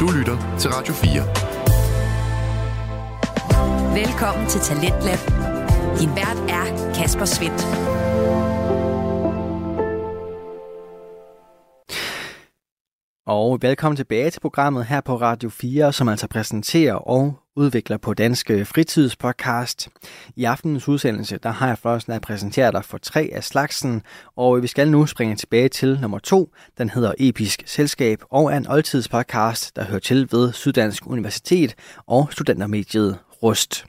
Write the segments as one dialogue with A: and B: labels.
A: Du lytter til Radio
B: Velkommen til Talentlab. Din vært er Kasper Svendt.
C: Og velkommen tilbage til programmet her på Radio 4, som altså præsenterer og udvikler på Danske Fritidspodcast. I aftenens udsendelse, der har jeg forresten at præsentere dig for tre af slagsen, og vi skal nu springe tilbage til nummer to. Den hedder Episk Selskab og er en oldtidspodcast, der hører til ved Syddansk Universitet og studentermediet Rust.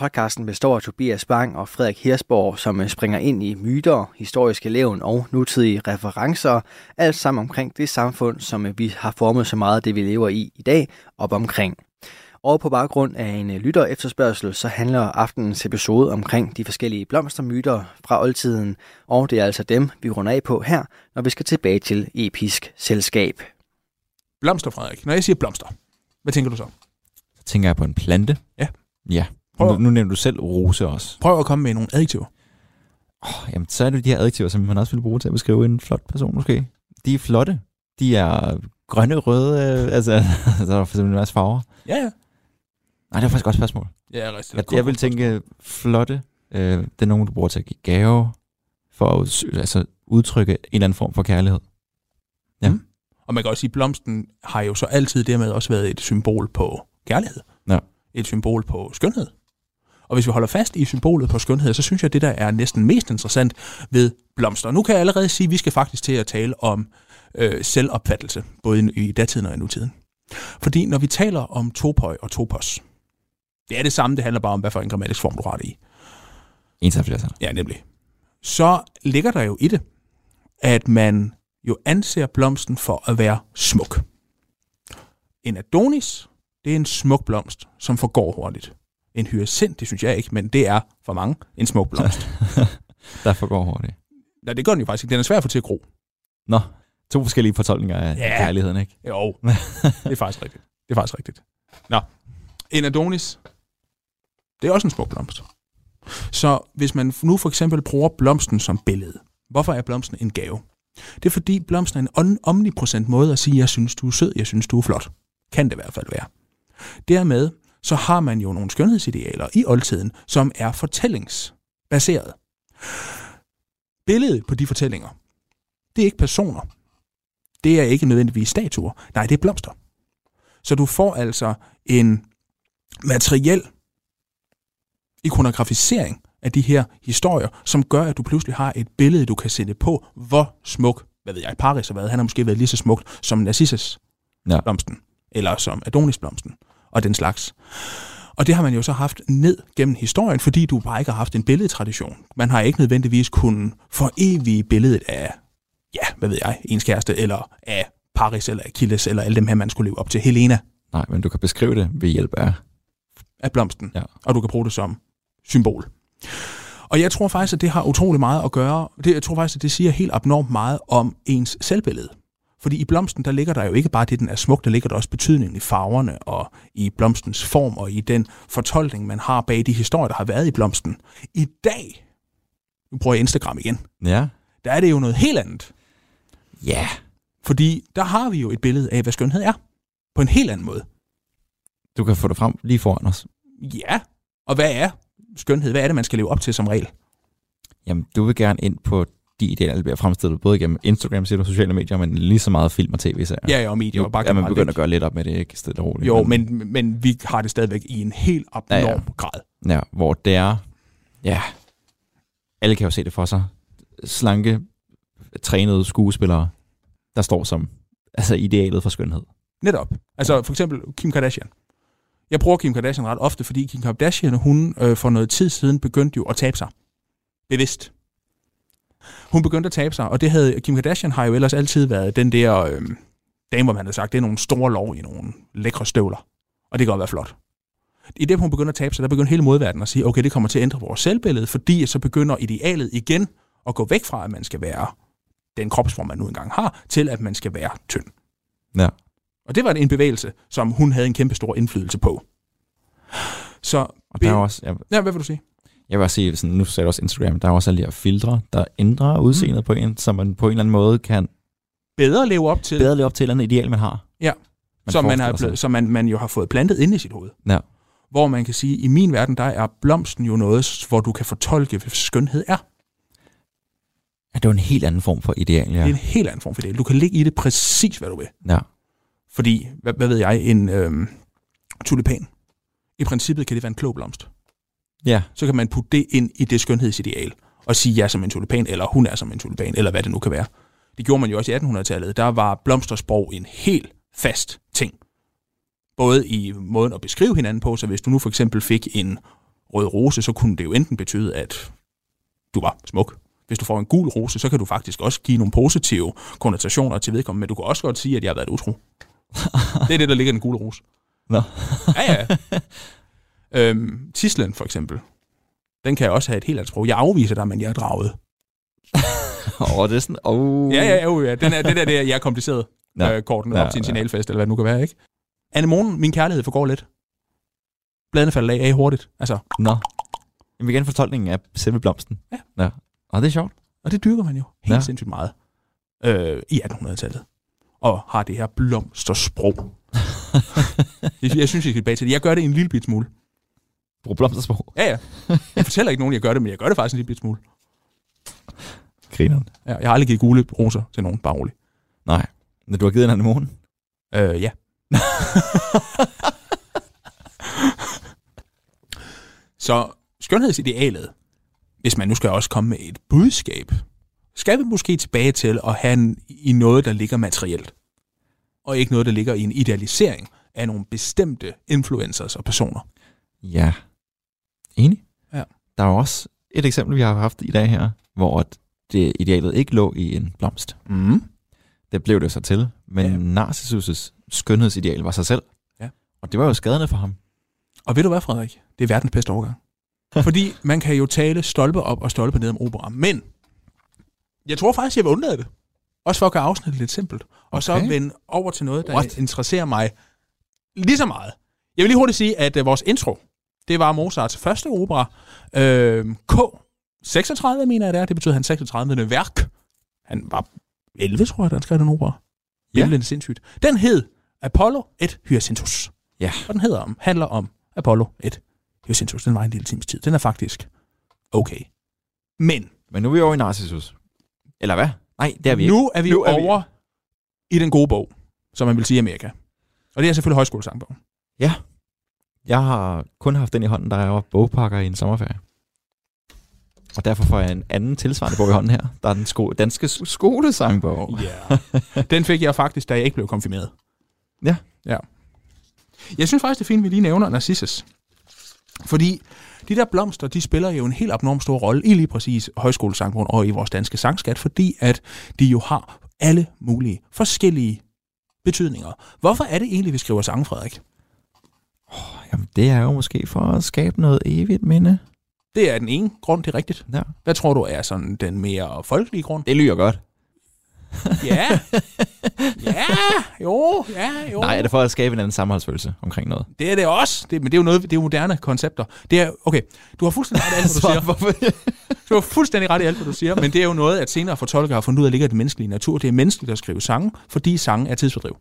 C: Podcasten består af Tobias Bang og Frederik Hirsborg, som øh, springer ind i myter, historiske levn og nutidige referencer, alt sammen omkring det samfund, som øh, vi har formet så meget af det, vi lever i i dag, op omkring. Og på baggrund af en lytter efterspørgsel, så handler aftenens episode omkring de forskellige blomstermyter fra oldtiden, og det er altså dem, vi runder af på her, når vi skal tilbage til episk selskab.
D: Blomster, Frederik. Når jeg siger blomster, hvad tænker du så?
E: Så tænker jeg på en plante.
D: Ja.
E: Ja.
D: Prøv
E: Nu,
D: at-
E: nu nævner du selv rose også.
D: Prøv at komme med nogle adjektiver.
E: Oh, jamen, så er det de her adjektiver, som man også ville bruge til at beskrive en flot person måske. De er flotte. De er grønne, røde, øh, altså, der er for eksempel en masse farver.
D: Ja, ja.
E: Nej, det er faktisk et godt spørgsmål.
D: Ja, rigtig.
E: Jeg, jeg vil tænke flotte, øh, det er nogen, du bruger til at give gave, for at uds- altså, udtrykke en eller anden form for kærlighed.
D: Og man kan også sige, at blomsten har jo så altid dermed også været et symbol på kærlighed.
E: Ja.
D: Et symbol på skønhed. Og hvis vi holder fast i symbolet på skønhed, så synes jeg, at det der er næsten mest interessant ved blomster. Nu kan jeg allerede sige, at vi skal faktisk til at tale om øh, selvopfattelse, både i, i datiden og i nutiden. Fordi når vi taler om topøj og topos, det er det samme, det handler bare om, hvad for en grammatisk form du har det i.
E: Ensam flertal.
D: Ja, nemlig. Så ligger der jo i det, at man jo anser blomsten for at være smuk. En adonis, det er en smuk blomst, som forgår hurtigt. En hyacint, det synes jeg ikke, men det er for mange en smuk blomst.
E: Der forgår hurtigt.
D: Nej, det gør den jo faktisk ikke. Den er svær at få til at gro.
E: Nå, to forskellige fortolkninger af
D: Ja.
E: ja. kærligheden, ikke?
D: Jo, det er faktisk rigtigt. Det er faktisk rigtigt. Nå, en adonis, det er også en smuk blomst. Så hvis man nu for eksempel bruger blomsten som billede, hvorfor er blomsten en gave? Det er fordi blomsten er en on- omniprocent måde at sige, jeg synes du er sød, jeg synes du er flot. Kan det i hvert fald være. Dermed så har man jo nogle skønhedsidealer i oldtiden, som er fortællingsbaseret. Billedet på de fortællinger, det er ikke personer, det er ikke nødvendigvis statuer. Nej, det er blomster. Så du får altså en materiel ikonografisering af de her historier, som gør, at du pludselig har et billede, du kan sætte på, hvor smuk, hvad ved jeg, Paris har været. Han har måske været lige så smukt som Narcissus
E: Ja.
D: blomsten, eller som Adonis blomsten, og den slags. Og det har man jo så haft ned gennem historien, fordi du bare ikke har haft en billedtradition. Man har ikke nødvendigvis kunnet forevige billedet af ja, hvad ved jeg, ens kæreste, eller af Paris, eller Achilles, eller alle dem her, man skulle leve op til. Helena
E: Nej, men du kan beskrive det ved hjælp af...
D: af blomsten,
E: Ja.
D: og du kan bruge det som symbol. Og jeg tror faktisk, at det har utrolig meget at gøre, det, jeg tror faktisk, at det siger helt abnormt meget om ens selvbillede. Fordi i blomsten, der ligger der jo ikke bare det, den er smuk, der ligger der også betydningen i farverne og i blomstens form og i den fortolkning, man har bag de historier, der har været i blomsten. I dag, nu bruger jeg Instagram igen,
E: Ja.
D: der er det jo noget helt andet.
E: Ja.
D: Fordi der har vi jo et billede af, hvad skønhed er. På en helt anden måde.
E: Du kan få det frem lige foran os.
D: Ja, og hvad er skønhed? Hvad er det, man skal leve op til som regel?
E: Jamen, du vil gerne ind på de idealer, der bliver fremstillet, både gennem Instagram, siger du, sociale medier, men lige så meget film og tv-serier.
D: Ja, ja, og medier.
E: jo,
D: og bare
E: at man
D: generelt,
E: begynder at
D: ikke?
E: gøre lidt op med det, ikke? Stille og roligt.
D: Jo, men, men vi har det stadigvæk i en helt abnorm ja,
E: Ja,
D: ja.
E: ja.
D: grad.
E: Ja, hvor det er... Ja. Alle kan jo se det for sig. Slanke, trænede skuespillere, der står som altså idealet for skønhed.
D: Netop. Altså for eksempel Kim Kardashian. Jeg bruger Kim Kardashian ret ofte, fordi Kim Kardashian, hun øh, for noget tid siden begyndte jo at tabe sig. Bevidst. Hun begyndte at tabe sig, og det havde Kim Kardashian har jo ellers altid været den der øh, dame, hvor man havde sagt, det er nogle store lov i nogle lækre støvler. Og det kan godt være flot. I det, hun begynder at tabe sig, der begynder hele modverdenen at sige, okay, det kommer til at ændre vores selvbillede, fordi så begynder idealet igen at gå væk fra, at man skal være den kropsform, man nu engang har, til at man skal være tynd.
E: Ja.
D: Og det var en bevægelse, som hun havde en kæmpe stor indflydelse på. Så,
E: Og der er jo også, jeg,
D: ja, hvad vil du sige?
E: jeg vil også sige, sådan, nu sagde du også Instagram, der er også alle de her filtre, der ændrer udseendet mm. på en, så man på en eller anden måde kan
D: Bedre leve op til.
E: bedre leve op til et eller andet ideal, man har.
D: Ja.
E: Man man
D: som, man, har
E: forestiller sig.
D: blevet, som man, man jo har fået plantet ind i sit hoved.
E: Ja.
D: Hvor man kan sige, i min verden, der er blomsten jo noget, hvor du kan fortolke, hvad skønhed er.
E: Ja, det er jo en helt anden form for ideal,
D: Ja. Det er
E: ja.
D: en helt anden form for det. Du kan ligge i det præcis, hvad du vil.
E: ja.
D: Fordi, hvad, hvad ved jeg, en øhm, tulipan. I princippet kan det være en klog blomst.
E: Ja,
D: Så kan man putte det ind i det skønhedsideal og sige, jeg er som en tulipan, eller hun er som en tulipan, eller hvad det nu kan være. Det gjorde man jo også i 1800-tallet. Der var blomstersprog en helt fast ting. Både i måden at beskrive hinanden på, så hvis du nu for eksempel fik en rød rose, så kunne det jo enten betyde, at du var smuk. Hvis du får en gul rose, så kan du faktisk også give nogle positive konnotationer til vedkommende, men du kan også godt sige, at jeg har været utro. Det er det, der ligger i den gule rose.
E: Nå.
D: ja, ja. Øhm, tislen for eksempel, den kan også have et helt andet sprog. Jeg afviser dig, men jeg er draget.
E: og det er sådan, oh.
D: Ja, ja, ja, ja. Den er, det der, det er, jeg er kompliceret.
E: Ja.
D: Ja. Øh, korten
E: Ja,
D: ja, op til en
E: ja.
D: signalfest, eller hvad det nu kan være, ikke? Anemonen, min kærlighed forgår lidt. Bladene falder af, af hurtigt. Altså,
E: Nå. Jamen igen fortolkningen af selve blomsten.
D: Ja.
E: ja. Og det er sjovt.
D: og det dyrker man jo helt
E: Ja.
D: ja. sindssygt meget øh, i 1800-tallet. Og har det her blomstersprog. jeg, jeg synes, jeg skal tilbage til det. Jeg gør det en lille bit smule.
E: Brug blomstersprog.
D: Ja, ja. Jeg fortæller ikke nogen, jeg gør det, men jeg gør det faktisk en lille bit smule.
E: Grineren.
D: Ja, jeg har aldrig givet gule roser til nogen, bare roligt.
E: Nej. Når du har givet en anemone.
D: Øh, ja. så skønhedsidealet, hvis man nu skal også komme med et budskab, skal vi måske tilbage til at have en, i noget, der ligger materielt, og ikke noget, der ligger i en idealisering af nogle bestemte influencers og personer.
E: Ja. Enig?
D: Ja.
E: Der er jo også et eksempel, vi har haft i dag her, hvor at det idealet ikke lå i en blomst.
D: Mm.
E: Det blev det jo så til. Men
D: Ja.
E: Narcissus' skønhedsideal var sig selv.
D: Ja.
E: Og det var jo skadende for ham.
D: Og ved du hvad, Frederik? Det er verdens bedste overgang. Fordi man kan jo tale stolpe op og stolpe ned om opera, men jeg tror faktisk, jeg vil undlade det. Også for at gøre afsnittet lidt simpelt. Og okay. så
E: Okay.
D: vende over til noget, der
E: What?
D: What? interesserer mig lige så meget. Jeg vil lige hurtigt sige, at øh, vores intro, det var Mozarts første opera, øh, K36, mener jeg det er. Det betyder hans 36. værk. Han var 11, tror jeg, da han skrev den opera.
E: Ja.
D: Ja. Det er sindssygt. Den hed Apollo et Hyacinthus
E: Ja.
D: og den hedder om, handler om Apollo 1. Hyacinthus, den var en lille times tid. Den er faktisk okay. Men
E: Men nu er vi over i Narcissus. Eller hvad? Nej, det er vi ikke.
D: nu er vi
E: Nu
D: nu
E: er vi-
D: over er vi... i den gode bog, som man vil sige i Amerika. Og det er selvfølgelig højskolesangbogen.
E: Jeg har kun haft den i hånden, da jeg var bogpakker i en sommerferie. Og derfor får jeg en anden tilsvarende bog i hånden her. Der er den sko- danske s- skolesangbog.
D: Ja. Yeah. den fik jeg faktisk, da jeg ikke blev konfirmeret.
E: Ja.
D: ja. Jeg synes faktisk, det er fint, at vi lige nævner Narcissus. Fordi de der blomster, de spiller jo en helt abnorm stor rolle i lige præcis højskolesangbogen og i vores danske sangskat, fordi at de jo har alle mulige forskellige betydninger. Hvorfor er det egentlig, vi skriver sange, Frederik?
E: Jamen, det er jo måske for at skabe noget evigt minde.
D: Det er den ene grund, det er rigtigt.
E: Ja.
D: Hvad tror du er sådan den mere folkelige grund?
E: Det lyder godt.
D: Ja. Ja, jo, ja, jo.
E: Nej, er det for at skabe en anden sammenholdsfølelse omkring noget?
D: Det er det også, det, men det er jo noget, det er jo moderne koncepter. Det er, okay, du har fuldstændig ret i alt, hvad du siger.
E: hvorfor?
D: Du har fuldstændig ret i alt, hvad du siger, men det er jo noget, at senere fortolkere har fundet ud af, at ligger i den menneskelige natur. Det er menneskeligt at skrive sange, fordi sange er tidsfordriv.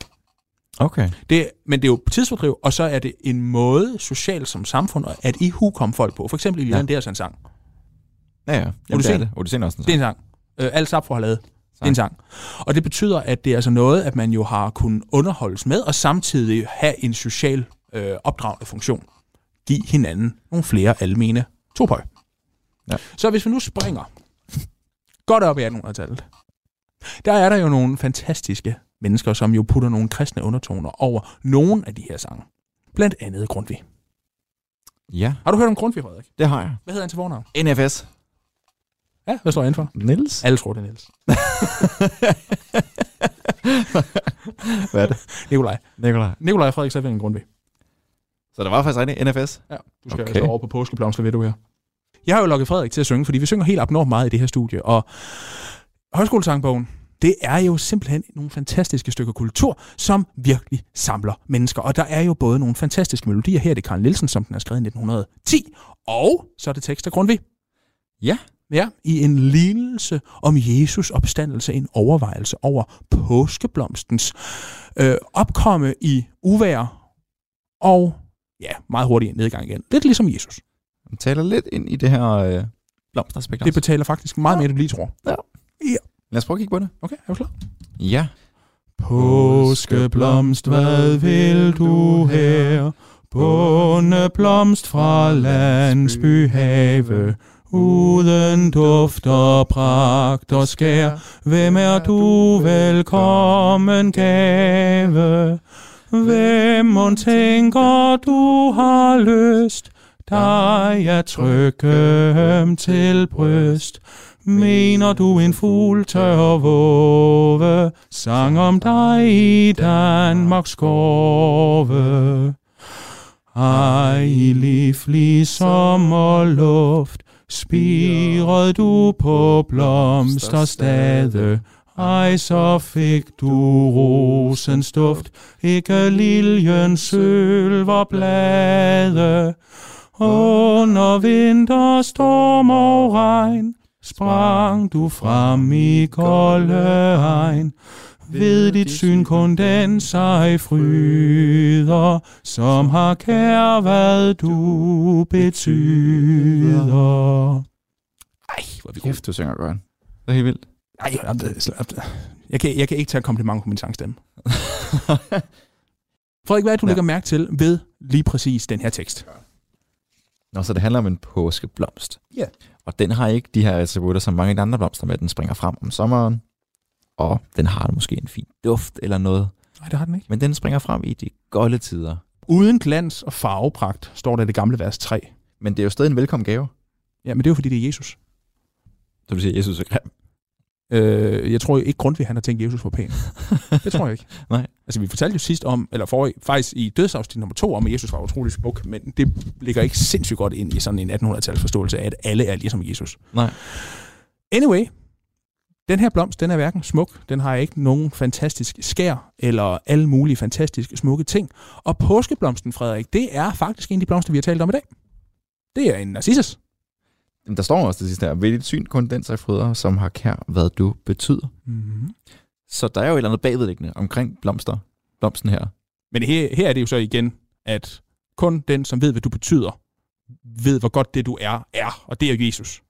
E: Okay.
D: Det, men det er jo tidsfordriv, og så er det en måde socialt som samfund at i komme folk på. For eksempel i Lillian ja. en sang.
E: Ja, ja. Jamen, det
D: Odysseen.
E: er det. Odysseen er også en
D: Det er
E: sang.
D: en sang. Øh, alt Sapfo har lavet. Det er en sang. Og det betyder, at det er altså noget, at man jo har kunnet underholdes med, og samtidig have en social øh, opdragende funktion. Giv hinanden nogle flere almene topøj.
E: Ja.
D: Så hvis vi nu springer godt op i 1800-tallet, der er der jo nogle fantastiske mennesker, som jo putter nogle kristne undertoner over nogle af de her sange. Blandt andet Grundtvig.
E: Ja,
D: Har du hørt om Grundtvig, Frederik?
E: det har jeg.
D: Hvad hedder han til fornavn?
E: NFS.
D: Ja, hvad står han for?
E: Nils?
D: Alle tror, det er Niels.
E: Hvad er det?
D: Nikolaj.
E: Nikolaj.
D: Nikolaj og Frederik Saving Grundtvig.
E: Så der var faktisk rigtig NFS?
D: Ja, du skal
E: Okay.
D: okay. altså over på påskeblomster, ved du her. Jeg har jo lukket Frederik til at synge, fordi vi synger helt abnormt meget i det her studie, og højskolesangbogen, det er jo simpelthen nogle fantastiske stykker kultur, som virkelig samler mennesker. Og der er jo både nogle fantastiske melodier. Her er det Karen Nielsen, som den er skrevet i 1910, og så er det tekst af Grundtvig.
E: Ja.
D: Ja, i en lignelse om Jesus opstandelse, en overvejelse over påskeblomstens øh, opkomme i uvær og ja, meget hurtigt nedgang igen. Lidt ligesom Jesus.
E: Han taler lidt ind i det her øh, blomsteraspekt.
D: Det
E: også.
D: betaler faktisk meget mere, end du lige tror.
E: Lad os prøve at kigge på det.
D: Okay, er du klar?
E: Ja.
D: Påskeblomst, hvad vil du her? Bundeblomst fra landsbyhave. Uden duft og pragt og skær, hvem er du velkommen gave? Hvem mon tænker du har lyst, dig at trykke ham til bryst? Mener du en fugl tør våge, sang om dig i Danmarks skove? Ej, i livlig sommerluft, spirede du på blomsterstade. Ej, så fik du rosens duft, ikke liljens sølverblade. Under vinter, storm og regn, sprang du frem i kolde egen. Ved dit syn kun den sig fryder, som har kær, hvad du betyder. Ej, hvor er vi gode.
E: Kæft, du synger godt. Det er helt vildt.
D: Ej, jamen, det er slet- jeg kan, jeg kan ikke tage kompliment på min sangstemme. Frederik, hvad er det, du ja.
E: Ja.
D: lægger mærke til ved lige præcis den her tekst?
E: Nå, så det handler om en påskeblomst.
D: Ja.
E: Og den har ikke de her attributter, som mange af de andre blomster med. Den springer frem om sommeren, og den har måske en fin duft eller noget.
D: Nej, det har den ikke.
E: Men den springer frem i de golde tider.
D: Uden glans og farvepragt, står der i det gamle vers 3.
E: Men det er jo stadig en velkommen gave,
D: Ja, men det er jo fordi, det er Jesus.
E: så du siger, Jesus er grim.
D: Øh, jeg tror jo ikke, Grundtvig han har tænkt, at Jesus var pæn. Det tror jeg ikke.
E: Nej.
D: Altså, vi fortalte jo sidst om, eller for, faktisk i dødsafsnit nummer to, om, at Jesus var utrolig smuk, men det ligger ikke sindssygt godt ind i sådan en 1800-tals forståelse af, at alle er ligesom Jesus.
E: Nej.
D: Anyway, den her blomst, den er hverken smuk, den har ikke nogen fantastisk skær, eller alle mulige fantastiske smukke ting. Og påskeblomsten, Frederik, det er faktisk en af de blomster, vi har talt om i dag. Det er en narcissus.
E: Men der står også det sidste her. Ved dit syn kun den sig fryder, som har kær, hvad du betyder.
D: Mm-hmm.
E: Så der er jo et eller andet bagvedliggende omkring blomster. Blomsten her.
D: Men her, her er det jo så igen, at kun den, som ved, hvad du betyder, ved, hvor godt det, du er, er. Og det er jo Jesus.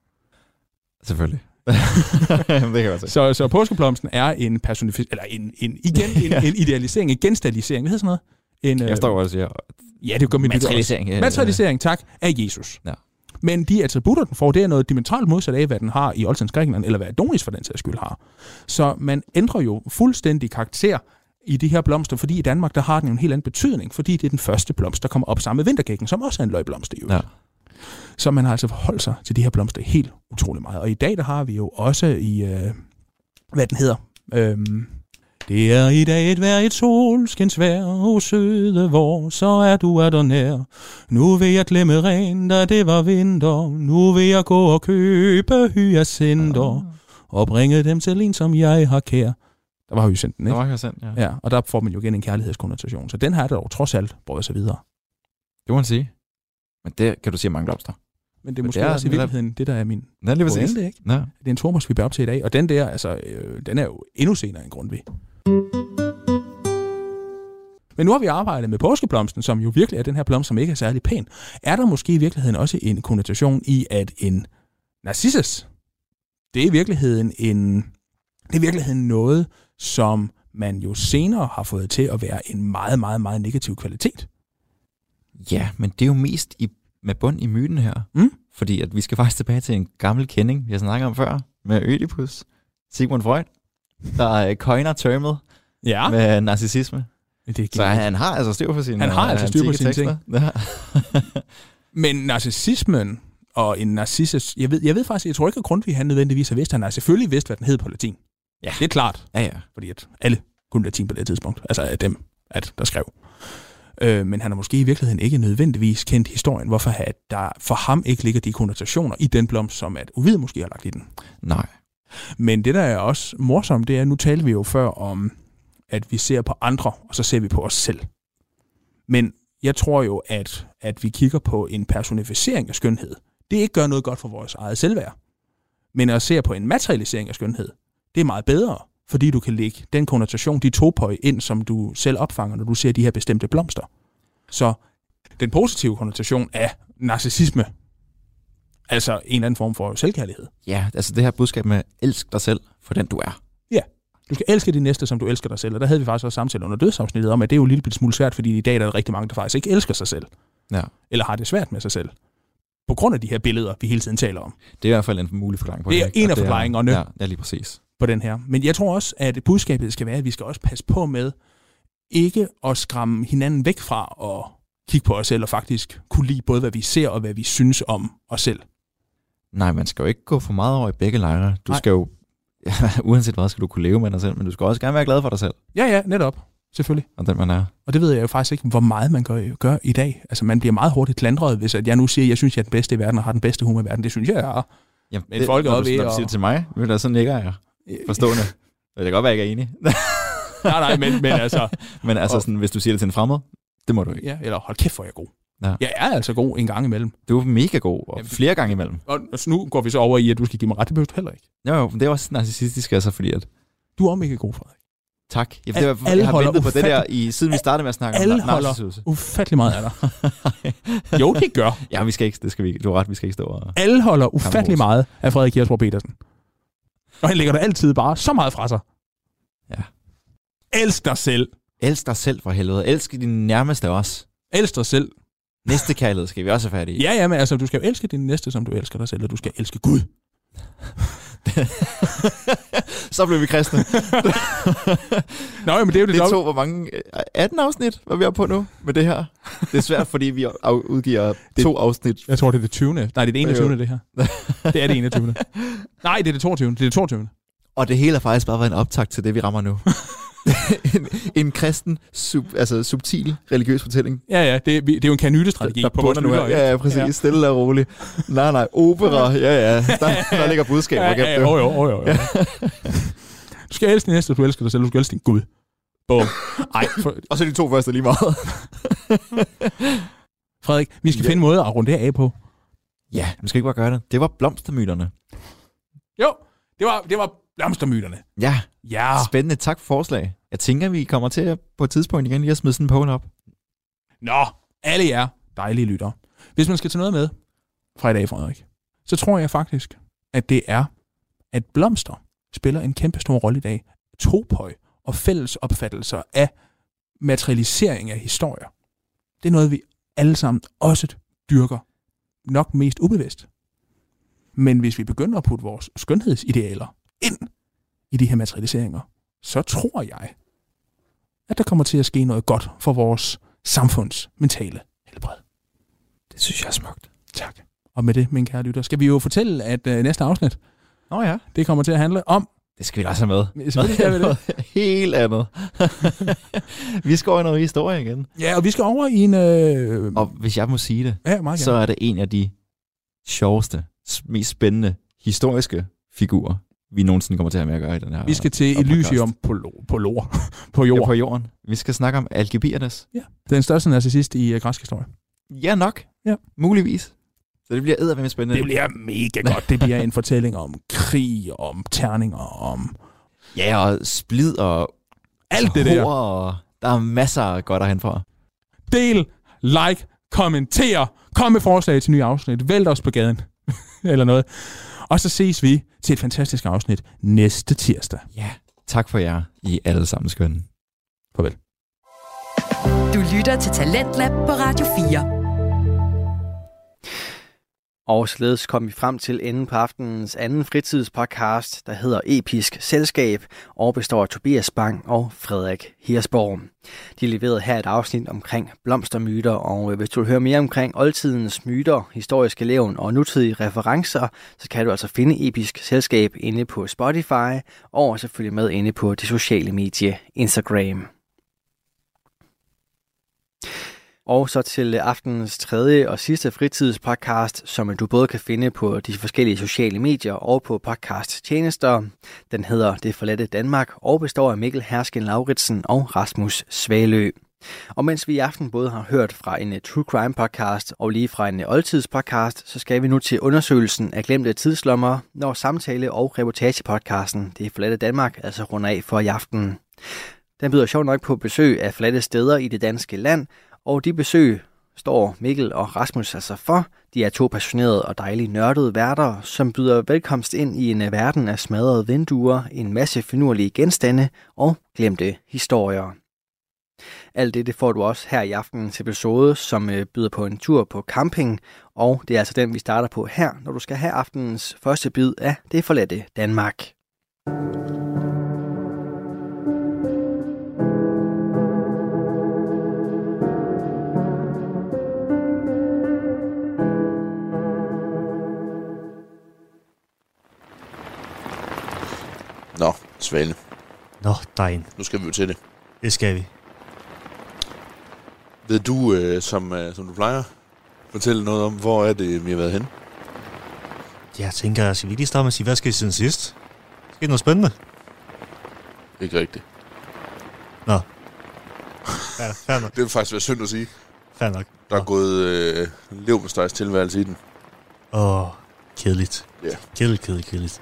E: Selvfølgelig. det kan jeg godt se.
D: Så, så påskeblomsten er en personificering, eller en, en, igen, en,
E: Ja.
D: en idealisering, en genstallisering. Hvad hedder sådan noget? En,
E: Jeg står også her.
D: øh, ja, det gør mit lytter også.
E: Materialisering. ja.
D: Materialisering, tak, af Jesus.
E: Ja.
D: Men de attributter, den får, det er noget dimensionalt modsat af, hvad den har i oldtidens Grækenland, eller hvad Adonis for den sags skyld har. Så man ændrer jo fuldstændig karakter i de her blomster, fordi i Danmark, der har den jo en helt anden betydning, fordi det er den første blomst, der kommer op sammen med vintergækken, som også er en løgblomst i øvrigt.
E: Ja.
D: Så man har altså forholdt sig til de her blomster helt utrolig meget. Og i dag, der har vi jo også i, øh, hvad den hedder, øhm, det er i dag et vejr, et solskinsvær, o søde vor, så er du er der nær. Nu vil jeg glemme rent, da det var vinter, nu vil jeg gå og købe hyacinter, og bringe dem til en, som jeg har kær. Der var hyacinthen,
E: Det
D: ikke?
E: var jo sandt, ja.
D: Ja, og der får man jo igen en kærlighedskonnotation. Så den her er der jo trods alt, brød sig videre.
E: Det må man sige. Men det kan du sige om mange blomster.
D: Men det er
E: Men
D: måske
E: det er
D: også i
E: netop-
D: virkeligheden det, der er min
E: Nej, lige præcis.
D: pointe, ikke?
E: Ja.
D: Det er en Thomas, vi bør op til i dag, og den der, altså, øh, den er jo endnu senere end Grundtvig. Men nu har vi arbejdet med påskeblomsten, som jo virkelig er den her blomst, som ikke er særlig pæn. Er der måske i virkeligheden også en konnotation i, at en narcissus, det er i virkeligheden en, det er i virkeligheden noget, som man jo senere har fået til at være en meget, meget, meget negativ kvalitet.
E: ja, men det er jo mest i, med bund i myten her.
D: Mm.
E: Fordi at vi skal faktisk tilbage til en gammel kending, vi har snakket om før, med Ødipus. Sigmund Freud, der øh, coiner termet
D: Ja,
E: ah. med narcissisme.
D: det er
E: Så han,
D: genialt.
E: han har altså styr på sine
D: Han har
E: øh,
D: altså styr på
E: antikke
D: sine
E: tekster. Ja.
D: Men narcissismen og en narcissus, jeg ved, jeg ved faktisk, jeg tror ikke, at Grundtvig han nødvendigvis har vidst, han har selvfølgelig vidst, hvad den hed på latin.
E: Ja.
D: Det er klart,
E: ja, ja.
D: fordi at alle kunne latin på det tidspunkt, altså af dem, at der skrev. Øh, men han har måske i virkeligheden ikke nødvendigvis kendt historien, hvorfor at der for ham ikke ligger de konnotationer i den blomst, som at uvid måske har lagt i den.
E: Nej.
D: Men det, der er også morsomt, det er, nu talte vi jo før om, at vi ser på andre, og så ser vi på os selv. Men jeg tror jo, at, at vi kigger på en personificering af skønhed. Det ikke gør noget godt for vores eget selvværd. Men at se på en materialisering af skønhed, det er meget bedre, fordi du kan lægge den konnotation, de topøj ind, som du selv opfanger, når du ser de her bestemte blomster. Så den positive konnotation af narcissisme, altså en eller anden form for selvkærlighed.
E: Ja, altså det her budskab med, elsk dig selv for den du er.
D: Du skal elske din næste, som du elsker dig selv. Og der havde vi faktisk også samtale under dødsafsnittet om, at det er jo en lille bit smule svært, fordi i dag der er der rigtig mange, der faktisk ikke elsker sig selv.
E: Ja.
D: Eller har det svært med sig selv. På grund af de her billeder, vi hele tiden taler om
E: Det er i hvert fald en mulig forklaring på
D: Det
E: det.
D: er
E: ikke?
D: en
E: Og
D: af forklaringerne.
E: Ja, ja, lige præcis.
D: på den her. Men jeg tror også, at budskabet skal være, at vi skal også passe på med ikke at skræmme hinanden væk fra og kigge på os selv og faktisk kunne lide både, hvad vi ser og hvad vi synes om os selv.
E: Nej, man skal jo ikke gå for meget over i begge lejre. Du
D: Nej.
E: Nej. skal jo, uanset hvad, skal du kunne leve med dig selv, men du skal også gerne være glad for dig selv,
D: Ja, ja, netop. Selvfølgelig.
E: og den man er.
D: Og det ved jeg jo faktisk ikke, hvor meget man gør, gør i dag. Altså, man bliver meget hurtigt klandret, hvis at jeg nu siger, at jeg synes, jeg er den bedste i verden og har den bedste humor i verden. Det synes jeg, jeg er.
E: Jamen,
D: Men folk er
E: når du,
D: oppe i
E: når du
D: at-
E: siger det til mig, ved du, hvad, så nikker jeg
D: Øh,
E: forstående. det kan godt være, jeg ikke er enig.
D: nej, nej, men, men altså...
E: men altså,
D: Og-
E: sådan, hvis du siger det til en fremmed, det må du ikke.
D: Ja, eller hold kæft, hvor er jeg god.
E: Ja.
D: Jeg er altså god en gang imellem.
E: Du er mega god, og
D: Jamen,
E: flere gange imellem.
D: Og nu går vi så over i, at du skal give mig ret. Det behøver du heller ikke.
E: Jo, jo, men det er også narcissistisk, altså, fordi at...
D: Du er også mega god, Frederik.
E: Tak. Ja, for
D: Al-
E: det, var,
D: alle
E: jeg har
D: holder
E: ventet på det der,
D: ufattelig-
E: i, siden vi startede med at snakke
D: Alle
E: om nar-
D: holder-
E: narcissisme.
D: Ufattelig meget af dig. Jo, det gør.
E: ja, vi skal ikke, det skal vi ikke. Du har ret, vi skal ikke stå og...
D: Alle holder ufattelig
E: Kammerhus.
D: meget af Frederik Kjærsborg Petersen. Og han lægger dig altid bare så meget fra sig.
E: Ja.
D: Elsk dig selv.
E: Elsk dig selv for helvede. Elsk din nærmeste også.
D: Elsk dig selv.
E: Næste kærlighed skal vi også have fat i.
D: Ja, ja, men altså, du skal jo elske din næste, som du elsker dig selv, og du skal elske Gud.
E: Så blev vi kristne.
D: Nå, ja, men det er jo det,
E: Det
D: det
E: tog, hvor mange... øh, 18 afsnit var vi oppe på nu med det her. Det er svært, fordi vi af- udgiver
D: Det-
E: to afsnit.
D: Jeg tror, det er det 20. Nej, det er det 21. det her. Det er det 21. Nej, det er det 22. Det er det 22.
E: Øh, Og det hele har faktisk bare været en optakt til det, vi rammer nu. en, en kristen, sub, altså subtil religiøs fortælling.
D: Ja, ja, det, er- vi- det er jo en kanylestrategi på vores
E: bunder nu her.
D: lyttere. ikke?
E: Ja, ja, præcis. Ja. Stille og roligt. Nej, nej. Opera. Ja, ja. Der, der ligger budskaber.
D: Ja, ja, jo, jo, jo, jo. jo. Du skal elske din næste, du elsker dig selv, du skal elske din Gud. Bum. Ej, for,
E: Og så de to første lige meget.
D: Frederik, vi skal
E: Ja.
D: finde måder at runde det af på.
E: ja, man skal ikke bare gøre det. Det var blomstermyterne.
D: Jo, det var, det var blomstermyterne.
E: Ja,
D: Ja.
E: spændende. Tak for forslag. Jeg tænker, vi kommer til at- på et tidspunkt igen lige at smide sådan en poll op.
D: Nå, alle jer dejlige lyttere. Hvis man skal tage noget med fra i dag, Frederik, så tror jeg faktisk, at det er, at blomster spiller en kæmpe stor rolle i dag. Topøj og fælles opfattelser af materialisering af historier. Det er noget, vi alle sammen også dyrker. Nok mest ubevidst. Men hvis vi begynder at putte vores skønhedsidealer ind i de her materialiseringer, så tror jeg, at der kommer til at ske noget godt for vores samfunds mentale helbred.
E: Det synes jeg er smukt.
D: Tak. Og med det, min kære lytter, skal vi jo fortælle, at øh, næste afsnit,
E: Nå ja.
D: det kommer til at handle om...
E: Det skal vi da også have med.
D: Selvfølgelig skal vi det.
E: Helt andet. vi skal over i noget historie igen.
D: Ja, og vi skal over i en... Øh,
E: Og hvis jeg må sige det,
D: ja, meget
E: så
D: gerne.
E: er det en af de sjoveste, s- mest spændende, historiske figurer, vi nogensinde kommer til at have med at gøre i den her
D: Vi skal til
E: og podcast.
D: Elysium på, lo- på, lor, på
E: jord.
D: jord.
E: på jorden. Vi skal snakke om algebiernes.
D: Den største narcissist i øh, græsk historie.
E: Ja nok.
D: Ja.
E: Muligvis. Så det bliver eddermame spændende.
D: Det bliver mega godt. Det bliver en fortælling om krig, om terninger, om
E: Ja, og splid og
D: alt det der.
E: hår, Og der er masser af godt at hente fra.
D: Del, like, kommenter, kom med forslag til nye afsnit, vælt os på gaden, eller noget. Og så ses vi til et fantastisk afsnit næste tirsdag.
E: Ja. Tak for jer. I er alle sammen skønne.
D: Farvel.
B: Du lytter til Talentlab på Radio 4.
C: Og således kom vi frem til enden på aftenens anden fritidspodcast, der hedder Episk Selskab, og består af Tobias Bang og Frederik Hirsborg. De leverede her et afsnit omkring blomstermyter, og hvis du vil høre mere omkring oldtidens myter, historiske levn og nutidige referencer, så kan du altså finde Episk Selskab inde på Spotify, og selvfølgelig med inde på det sociale medie Instagram. Og så til aftenens tredje og sidste fritidspodcast, som du både kan finde på de forskellige sociale medier og på podcasttjenester. Den hedder Det forladte Danmark og består af Mikkel Hersken Lauritsen og Rasmus Svalø. Og mens vi i aften både har hørt fra en øh, True Crime podcast og lige fra en øh, oldtidspodcast, så skal vi nu til undersøgelsen af glemte tidslommer, når samtale- og reportagepodcasten Det forladte Danmark altså runder af for i aften. Den byder sjovt nok på besøg af forladte steder i det danske land, og de besøg står Mikkel og Rasmus altså for. De er to passionerede og dejligt nørdede værter, som byder velkomst ind i en øh, verden af smadrede vinduer, en masse finurlige genstande og glemte historier. Alt det, det får du også her i aftenens episode, som øh, byder på en tur på camping, og det er altså den, vi starter på her, når du skal have aftenens første bid af Det forladte Danmark.
A: Nå, Svane,
F: Nå, dejen.
A: nu skal vi jo til det.
F: Det skal vi.
A: Ved du, øh, som, øh, som du plejer, fortælle noget om, hvor er det, vi har været henne?
F: Jeg tænker, jeg skal vi lige starte med at sige, hvad skal I siden sidst? Skal noget spændende?
A: Ikke rigtigt.
F: Ja, fair nok.
A: Det vil faktisk være synd at sige.
F: Fair nok.
A: Der er
F: Nå.
A: gået øh, levmestejs tilværelse i den.
F: Åh, oh, kedeligt.
A: Ja.
F: Kedeligt, kedeligt, kedeligt.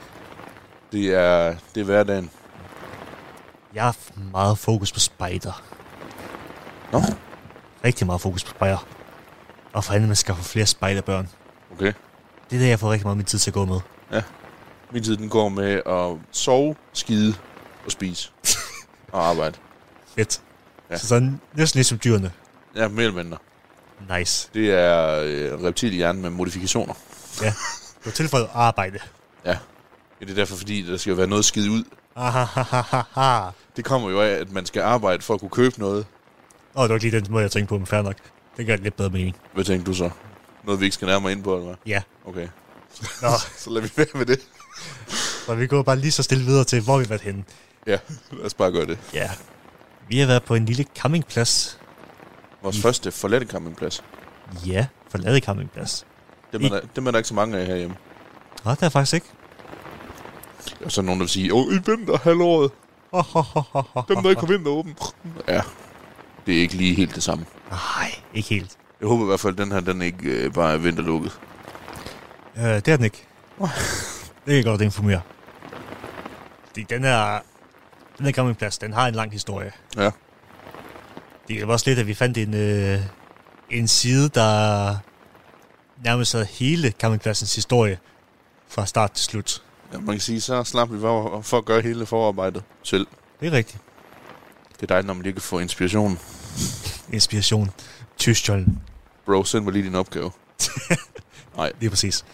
A: Det er, det er hverdagen.
F: Jeg har f- meget fokus på spider.
A: Nå.
F: Rigtig meget fokus på spider. Og for andet, man skal få flere spiderbørn.
A: Okay.
F: Det er det, jeg får rigtig meget af min tid til at gå med.
A: Min tid, den går med at sove, skide og spise. og arbejde.
F: Fedt.
A: Ja.
F: Ja. Så sådan næsten ligesom dyrene.
A: Ja, mere eller mindre.
F: Nice.
A: Det er øh, reptilhjerne med modifikationer.
F: Du har tilføjet arbejde.
A: Ja, det er derfor, fordi der skal jo være noget skide ud.
F: Ah, Ahahaha.
A: Det kommer jo af, at man skal arbejde for at kunne købe noget.
F: Åh, det var ikke lige den måde, jeg tænkte på, men fair nok. Det gør lidt bedre mening.
A: Hvad tænker du så? Noget, vi ikke skal nærmere ind på, eller hvad?
F: Ja.
A: Okay.
F: Nå,
A: Så lad vi være med det.
F: så vi går bare lige så stille videre til, hvor vi har været henne.
A: Ja, lad os bare gøre det.
F: Ja. Vi har været på en lille campingplads.
A: Vores første forladte campingplads.
F: Ja, forladet campingplads.
A: Dem er,
F: I-
A: der, dem er der ikke så mange af herhjemme.
F: Nej, det er faktisk ikke.
A: Og så er der nogen, der vil sige, åh, i vinter, halvåret. Dem, der ikke har vinteråben. Ja, det er ikke lige helt det samme.
F: Nej, ikke helt.
A: Jeg håber i hvert fald, at den her, den ikke øh, bare er vinterlukket.
F: Øh, det er den ikke. det kan jeg godt informere. Fordi den her, den her campingplads, den har en lang historie.
A: Ja.
F: Det var også lidt, at vi fandt en, øh, en side, der nærmest havde hele campingpladsens historie fra start til slut.
A: ja. man kan sige, så slap vi bare for at gøre hele forarbejdet selv.
F: Det er rigtigt.
A: Det er dejligt, når man lige kan få inspiration.
F: Inspiration. Tyskjolden.
A: Bro, send mig lige din opgave.
F: Lige præcis.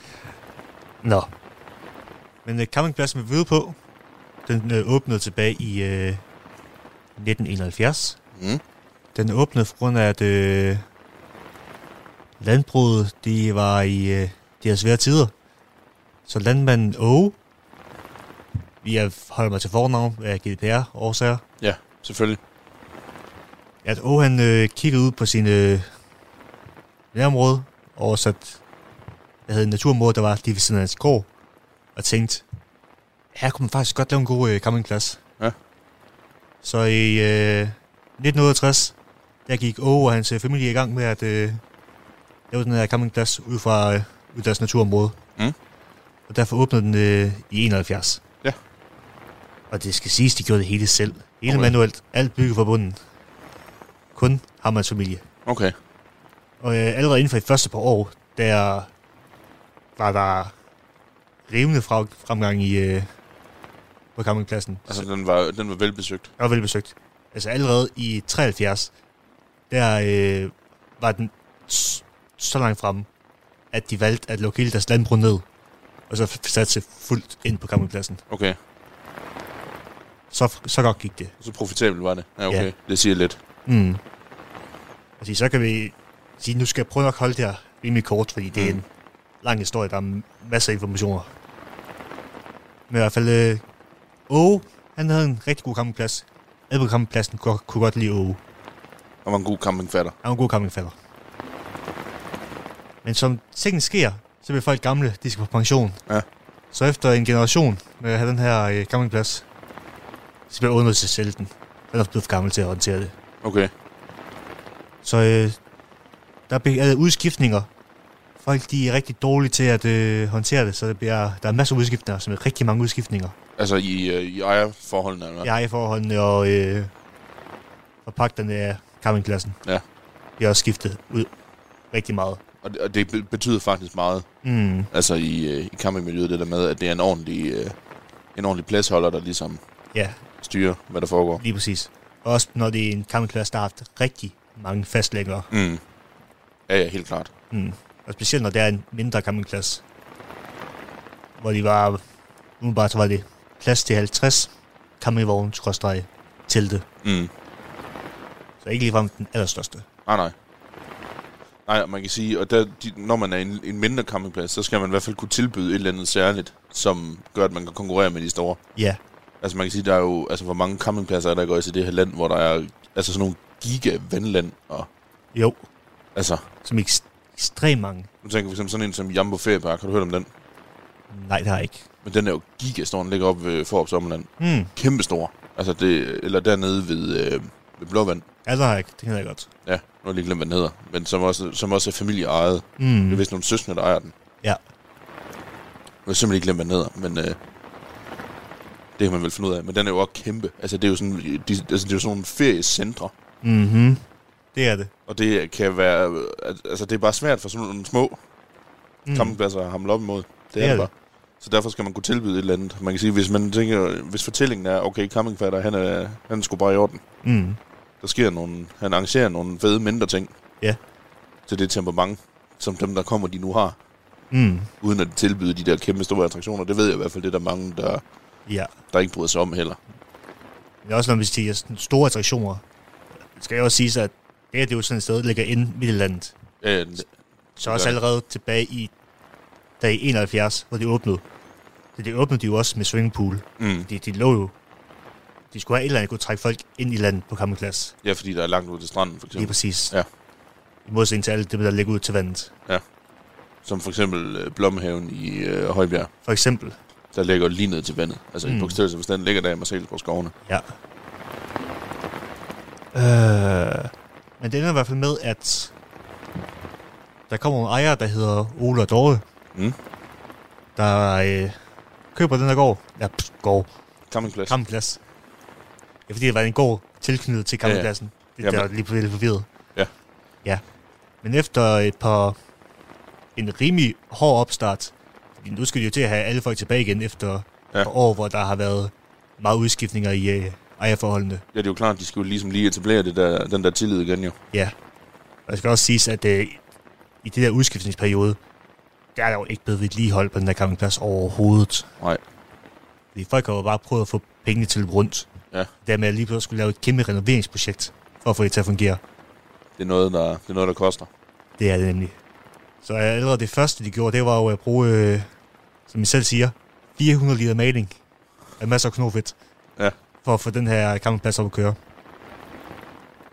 F: Nå. Men uh, campingpladsen med hvide på, den uh, åbnede tilbage i uh, 1971.
A: Mm.
F: Den åbnede på grund af, at uh, landbruget de var i uh, deres svære tider. Så landmanden Åge, vi er- holder mig til fornavn af GDPR-årsager,
A: Ja, selvfølgelig.
F: at Åge han øh, kiggede ud på sin øh, nærområde, oversat, jeg havde en naturområde, der var lige ved siden af hans gård, og tænkte, her kunne man faktisk godt lave en god øh, campingplads.
A: Ja.
F: Så i øh, 1968, der gik Åge og hans øh, familie i gang med at øh, lave den her campingplads ud fra øh, ud deres naturområde.
A: Mm.
F: Og derfor åbnede den øh, i 71.
A: Ja.
F: Og det skal siges, de gjorde det hele selv. Hele
A: Okay.
F: okay. manuelt. Alt bygget fra bunden. Kun Hammerens familie.
A: Okay.
F: Og øh, allerede inden for de første par år, der var der rivende fra, fremgang i, øh, på campingpladsen.
A: Altså, den var, den var velbesøgt.
F: Jeg var velbesøgt. Altså allerede i 73, der øh, var den s- så langt fremme, at de valgte at lukke hele deres landbrug ned, og så f- satte sig fuldt ind på campingpladsen.
A: Okay.
F: Så, så godt gik det.
A: Så profitabel var det. Ja, okay.
F: Ja.
A: Det siger lidt.
F: Mm. Altså, så kan vi sige, nu skal jeg prøve at holde det her rimelig kort, fordi det er
A: Mm.
F: en lang historie, der er m- masser af informationer. Men i hvert fald, øh, Åge, han havde en rigtig god campingplads. Alle på campingpladsen kunne, kunne godt lide Åge.
A: Han var en god campingfatter.
F: Han var en god campingfatter. Men som tingene sker, så bliver folk gamle, de skal på pension.
A: Ja.
F: Så efter en generation med at have den her øh, campingplads, så bliver Åge nødt til at sælge den. Han er også blevet for gammel til at håndtere det.
A: Okay.
F: Så øh, der be- er udskiftninger. Folk de er rigtig dårlige til at øh, håndtere det, så der, bliver, der er masser af udskiftninger, som er rigtig mange udskiftninger.
A: Altså i, øh, i ejerforholdene, eller hvad?
F: Jeg er i forholdene og øh, forpagterne af campingpladsen.
A: Ja.
F: De er også skiftet ud rigtig meget.
A: Og, det- og det be- betyder faktisk meget,
F: Mm.
A: altså i, øh, i campingmiljøet, det der med, at det er en ordentlig, øh, en ordentlig pladsholder, der ligesom
F: Ja,
A: styrer, hvad der foregår.
F: lige præcis. Også når det er en campingplads, der har haft rigtig mange fastlæggere.
A: Mm. Ja, ja, helt klart.
F: Mm. Og specielt når det er en mindre campingplads. Hvor de var, umiddelbart så var det plads til 50 campingvogne, skråstreg, telte.
A: Mm.
F: Så ikke ligefrem den allerstørste.
A: Nej, nej. Nej, og man kan sige, og der, de, når man er en, en mindre campingplads, så skal man i hvert fald kunne tilbyde et eller andet særligt, som gør, at man kan konkurrere med de store.
F: Ja,
A: Altså man kan sige, der er jo, altså hvor mange campingpladser er der går i det her land, hvor der er altså sådan nogle giga vandland, og
F: jo.
A: altså,
F: Som ekst- ekstremt mange.
A: nu tænker vi for eksempel sådan en som Jambo Feriepark, har du hørt om den?
F: Nej, det har jeg ikke.
A: Men den er jo gigastor, den ligger oppe ved Forbes Omland.
F: Mm.
A: Kæmpestor. Altså det, eller dernede ved, øh, ved Blåvand.
F: Ja, det har jeg ikke. Det kender jeg godt.
A: Ja, nu har jeg lige glemt, hvad den hedder. Men som også, som også er familieejet. Mm.
F: Mm.
A: Det er vist nogle søskende, der ejer den.
F: Ja.
A: Jeg har simpelthen ikke glemt, hvad den hedder, men øh, det kan man vel finde ud af. Men den er jo også kæmpe. Altså, det er jo sådan, de, altså, det er jo sådan nogle feriecentre.
F: Mm-hmm. Det er det.
A: Og det kan være... øh, al- Altså, det er bare svært for sådan nogle små mm. campingpladser at hamle op imod. Det, det er det bare. Så derfor skal man kunne tilbyde et eller andet. Man kan sige, hvis man tænker, hvis fortællingen er, okay, campingfatter, han er, han er sgu bare i orden.
F: Mm.
A: Der sker nogle, han arrangerer nogle fede mindre ting.
F: Ja.
A: Til det temperament, som dem, der kommer, de nu har.
F: Mm.
A: Uden at tilbyde de der kæmpe store attraktioner. Det ved jeg i hvert fald, det er der mange, der,
F: Ja.
A: der ikke bryder sig om heller.
F: Men også når vi siger sådan store attraktioner, skal jeg også sige, at det her det er jo sådan et sted, der ligger inde midt i landet.
A: Øh,
F: Så også
A: Ja.
F: allerede tilbage i dag 71, hvor det åbnede. Så det åbnede de jo også med swimmingpool.
A: mm.
F: De, de lå jo. De skulle have et eller andet, der kunne trække folk ind i landet på campingplads.
A: Ja, fordi der er langt ud til stranden, for
F: Lige
A: eksempel.
F: præcis.
A: Ja.
F: I modsætning til alt det, der ligger ud til vandet.
A: Som for eksempel øh, Blomhaven i øh, Højbjerg.
F: For eksempel.
A: der ligger lige ned til vandet. Altså mm. i
F: Mm.
A: bogstavelse forstand ligger der i Marcelsborg skovene.
F: Ja. Øh, men det ender i hvert fald med, at der kommer nogle ejere, der hedder Ole og Dorte,
A: Mm.
F: der øh, køber den her gård. Ja, pff, gård.
A: Campingplads. Kamp.
F: Campingplads. Ja, fordi det var en gård tilknyttet til campingpladsen. Ja, ja. Det er
A: Jamen.
F: der lige på lidt forvirret.
A: Ja.
F: Ja. Men efter et par... En rimelig hård opstart. fordi Nu skal de jo til at have alle folk tilbage igen efter
A: Ja.
F: ja. et par år, hvor der har været meget udskiftninger i øh, ejerforholdene.
A: Ja, det er jo klart, de skulle ligesom lige etablere det der, den der tillid igen jo.
F: Ja. Og det skal også siges, at øh, i det der udskiftningsperiode, der er der jo ikke blevet vedligeholdt på den der campingplads overhovedet.
A: Nej.
F: Fordi folk har jo bare prøvet at få pengene til rundt.
A: Ja.
F: Dermed lige pludselig skulle lave et kæmpe renoveringsprojekt for at få det til at fungere.
A: Det er noget, der, det er noget, der koster.
F: Det er det nemlig. Så allerede det første, de gjorde, det var jo at bruge, øh, som I selv siger, 400 liter maling af masser af knofedt.
A: Ja.
F: For at få den her campingplads op at køre.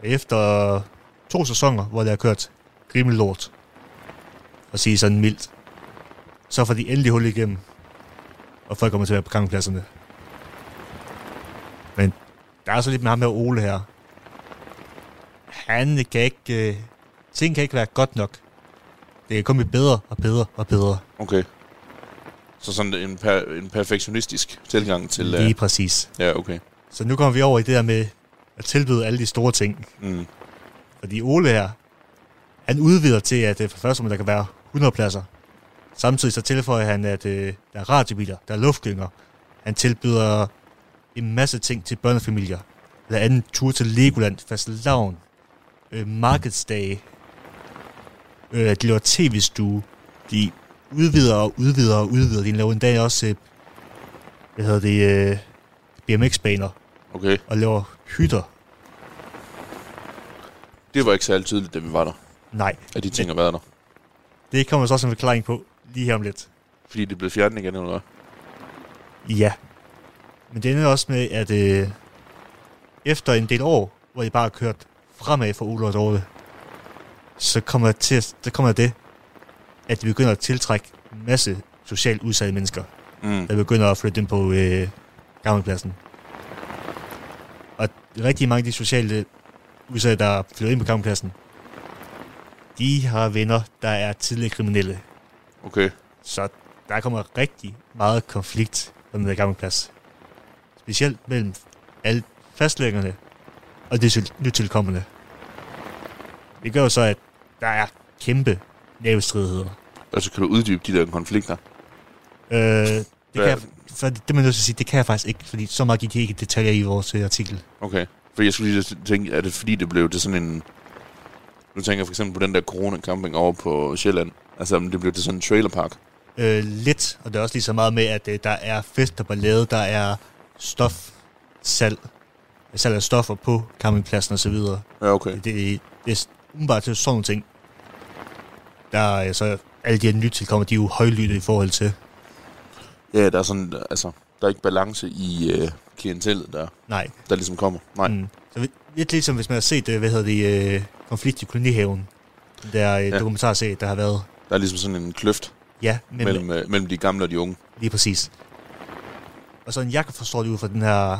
F: Efter to sæsoner, hvor det har kørt rimelig lort, og sige sådan mildt, så får de endelig hul igennem, og folk kommer til at være på campingpladserne. Men der er så lidt med ham her Ole her. Han kan ikke... Øh, ting kan ikke være godt nok. Det kan kun blive bedre og bedre og bedre.
A: Okay. Så sådan en, per, en perfektionistisk tilgang til...
F: Lige
A: Uh,
F: præcis.
A: ja, okay.
F: Så nu kommer vi over i det der med at tilbyde alle de store ting.
A: Mm.
F: Fordi Ole her, han udvider til, at øh, for første der kan være 100 pladser. Samtidig så tilføjer han, at øh, der er radiobiler, der er luftgynger. Han tilbyder en masse ting til børnefamilier. Blandt andet tur til Legoland, fastelavn, øh, markedsdage, øh, de laver tv-stue. De udvider og udvider og udvider. De laver en dag også, øh, hvad hedder det, øh, BMX-baner
A: Okay.
F: og laver hytter.
A: Det var ikke særlig tydeligt, da vi var der,
F: Nej,
A: at de ting har været der.
F: det kommer så også en forklaring på lige her om lidt.
A: Fordi det blev fjernet igen, eller hvad?
F: Ja. Men det ender også med, at øh, efter en del år, hvor jeg bare har kørt fremad for Ole og Dorte, så kommer, jeg til, at- så kommer det, at de begynder at tiltrække en masse socialt udsatte mennesker,
A: Mm.
F: der begynder at flytte ind på øh, gammelpladsen. Og rigtig mange af de sociale udsatte, der flytter ind på gammelpladsen, de har venner, der er tidligere kriminelle.
G: Okay.
F: Så der kommer rigtig meget konflikt på den der gamle plads. Specielt mellem alle fastlæggerne og de til- nytilkommende. Det gør jo så, at der er kæmpe navestridigheder.
G: Altså, kan du uddybe de der konflikter?
F: Øh, det,
G: Hvad-
F: kan jeg, for det er man nødt til at sige, det kan jeg faktisk ikke, fordi så meget gik jeg ikke i detaljer i vores øh, artikel.
G: Okay. For jeg skulle lige tænke, er det fordi, det blev til sådan en... Nu tænker jeg for eksempel på den der corona-camping over på Sjælland. Altså, om det blev til sådan en trailerpark.
F: øh, lidt, og det er også lige så meget med, at øh, der er fester på lade, der er stof, salg, salg af stoffer på campingpladsen osv.
G: Ja, okay.
F: Det, det, det er umiddelbart til sådan nogle ting. Der er øh, så alle de her nytilkommende, de er jo højlytte i forhold til.
G: Ja, der er sådan... Altså, der er ikke balance i øh, klientellet, der,
F: Nej.
G: der ligesom kommer. Nej. Mm.
F: Mm. Så vi- lidt ligesom hvis man har set, øh, hvad hedder det, øh, konflikt i kolonihaven, den der ja. dokumentarserie, der har været.
G: Der er ligesom sådan en kløft
F: Ja, men
G: mellem, øh, mellem de gamle og de unge.
F: Lige præcis. Og sådan, jeg kan forstå det ud fra den her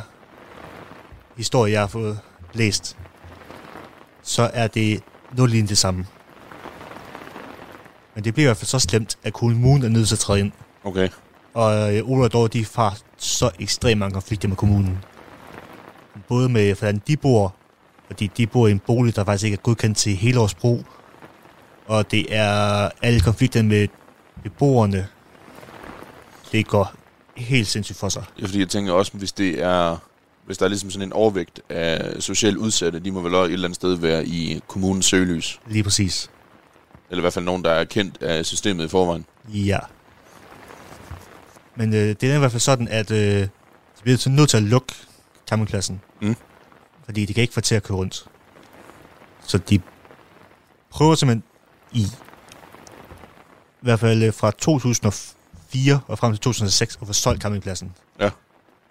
F: historie, jeg har fået læst, så er det nogenlunde det samme. Men det bliver i hvert fald så slemt, at kommunen er nødt til at træde ind.
G: Okay.
F: Og øh, Ola og Dorte, de har så ekstremt mange konflikter med kommunen. Både med, hvordan de bor, fordi de bor i en bolig, der faktisk ikke er godkendt til helårsbrug. Og det er alle konflikterne med beboerne. Det går helt sindssygt for sig.
G: Ja, fordi jeg tænker også, hvis det er... Hvis der er ligesom sådan en overvægt af socialt udsatte, de må vel også et eller andet sted være i kommunens søgelys.
F: Lige præcis.
G: Eller i hvert fald nogen, der er kendt af systemet i forvejen.
F: Ja. Men øh, det er i hvert fald sådan, at øh, de bliver så nødt til at lukke campingpladsen.
G: Mm.
F: Fordi de kan ikke få til at køre rundt. Så de prøver simpelthen i, i hvert fald øh, fra 2004 og frem til 2006 at få solgt campingpladsen.
G: Ja.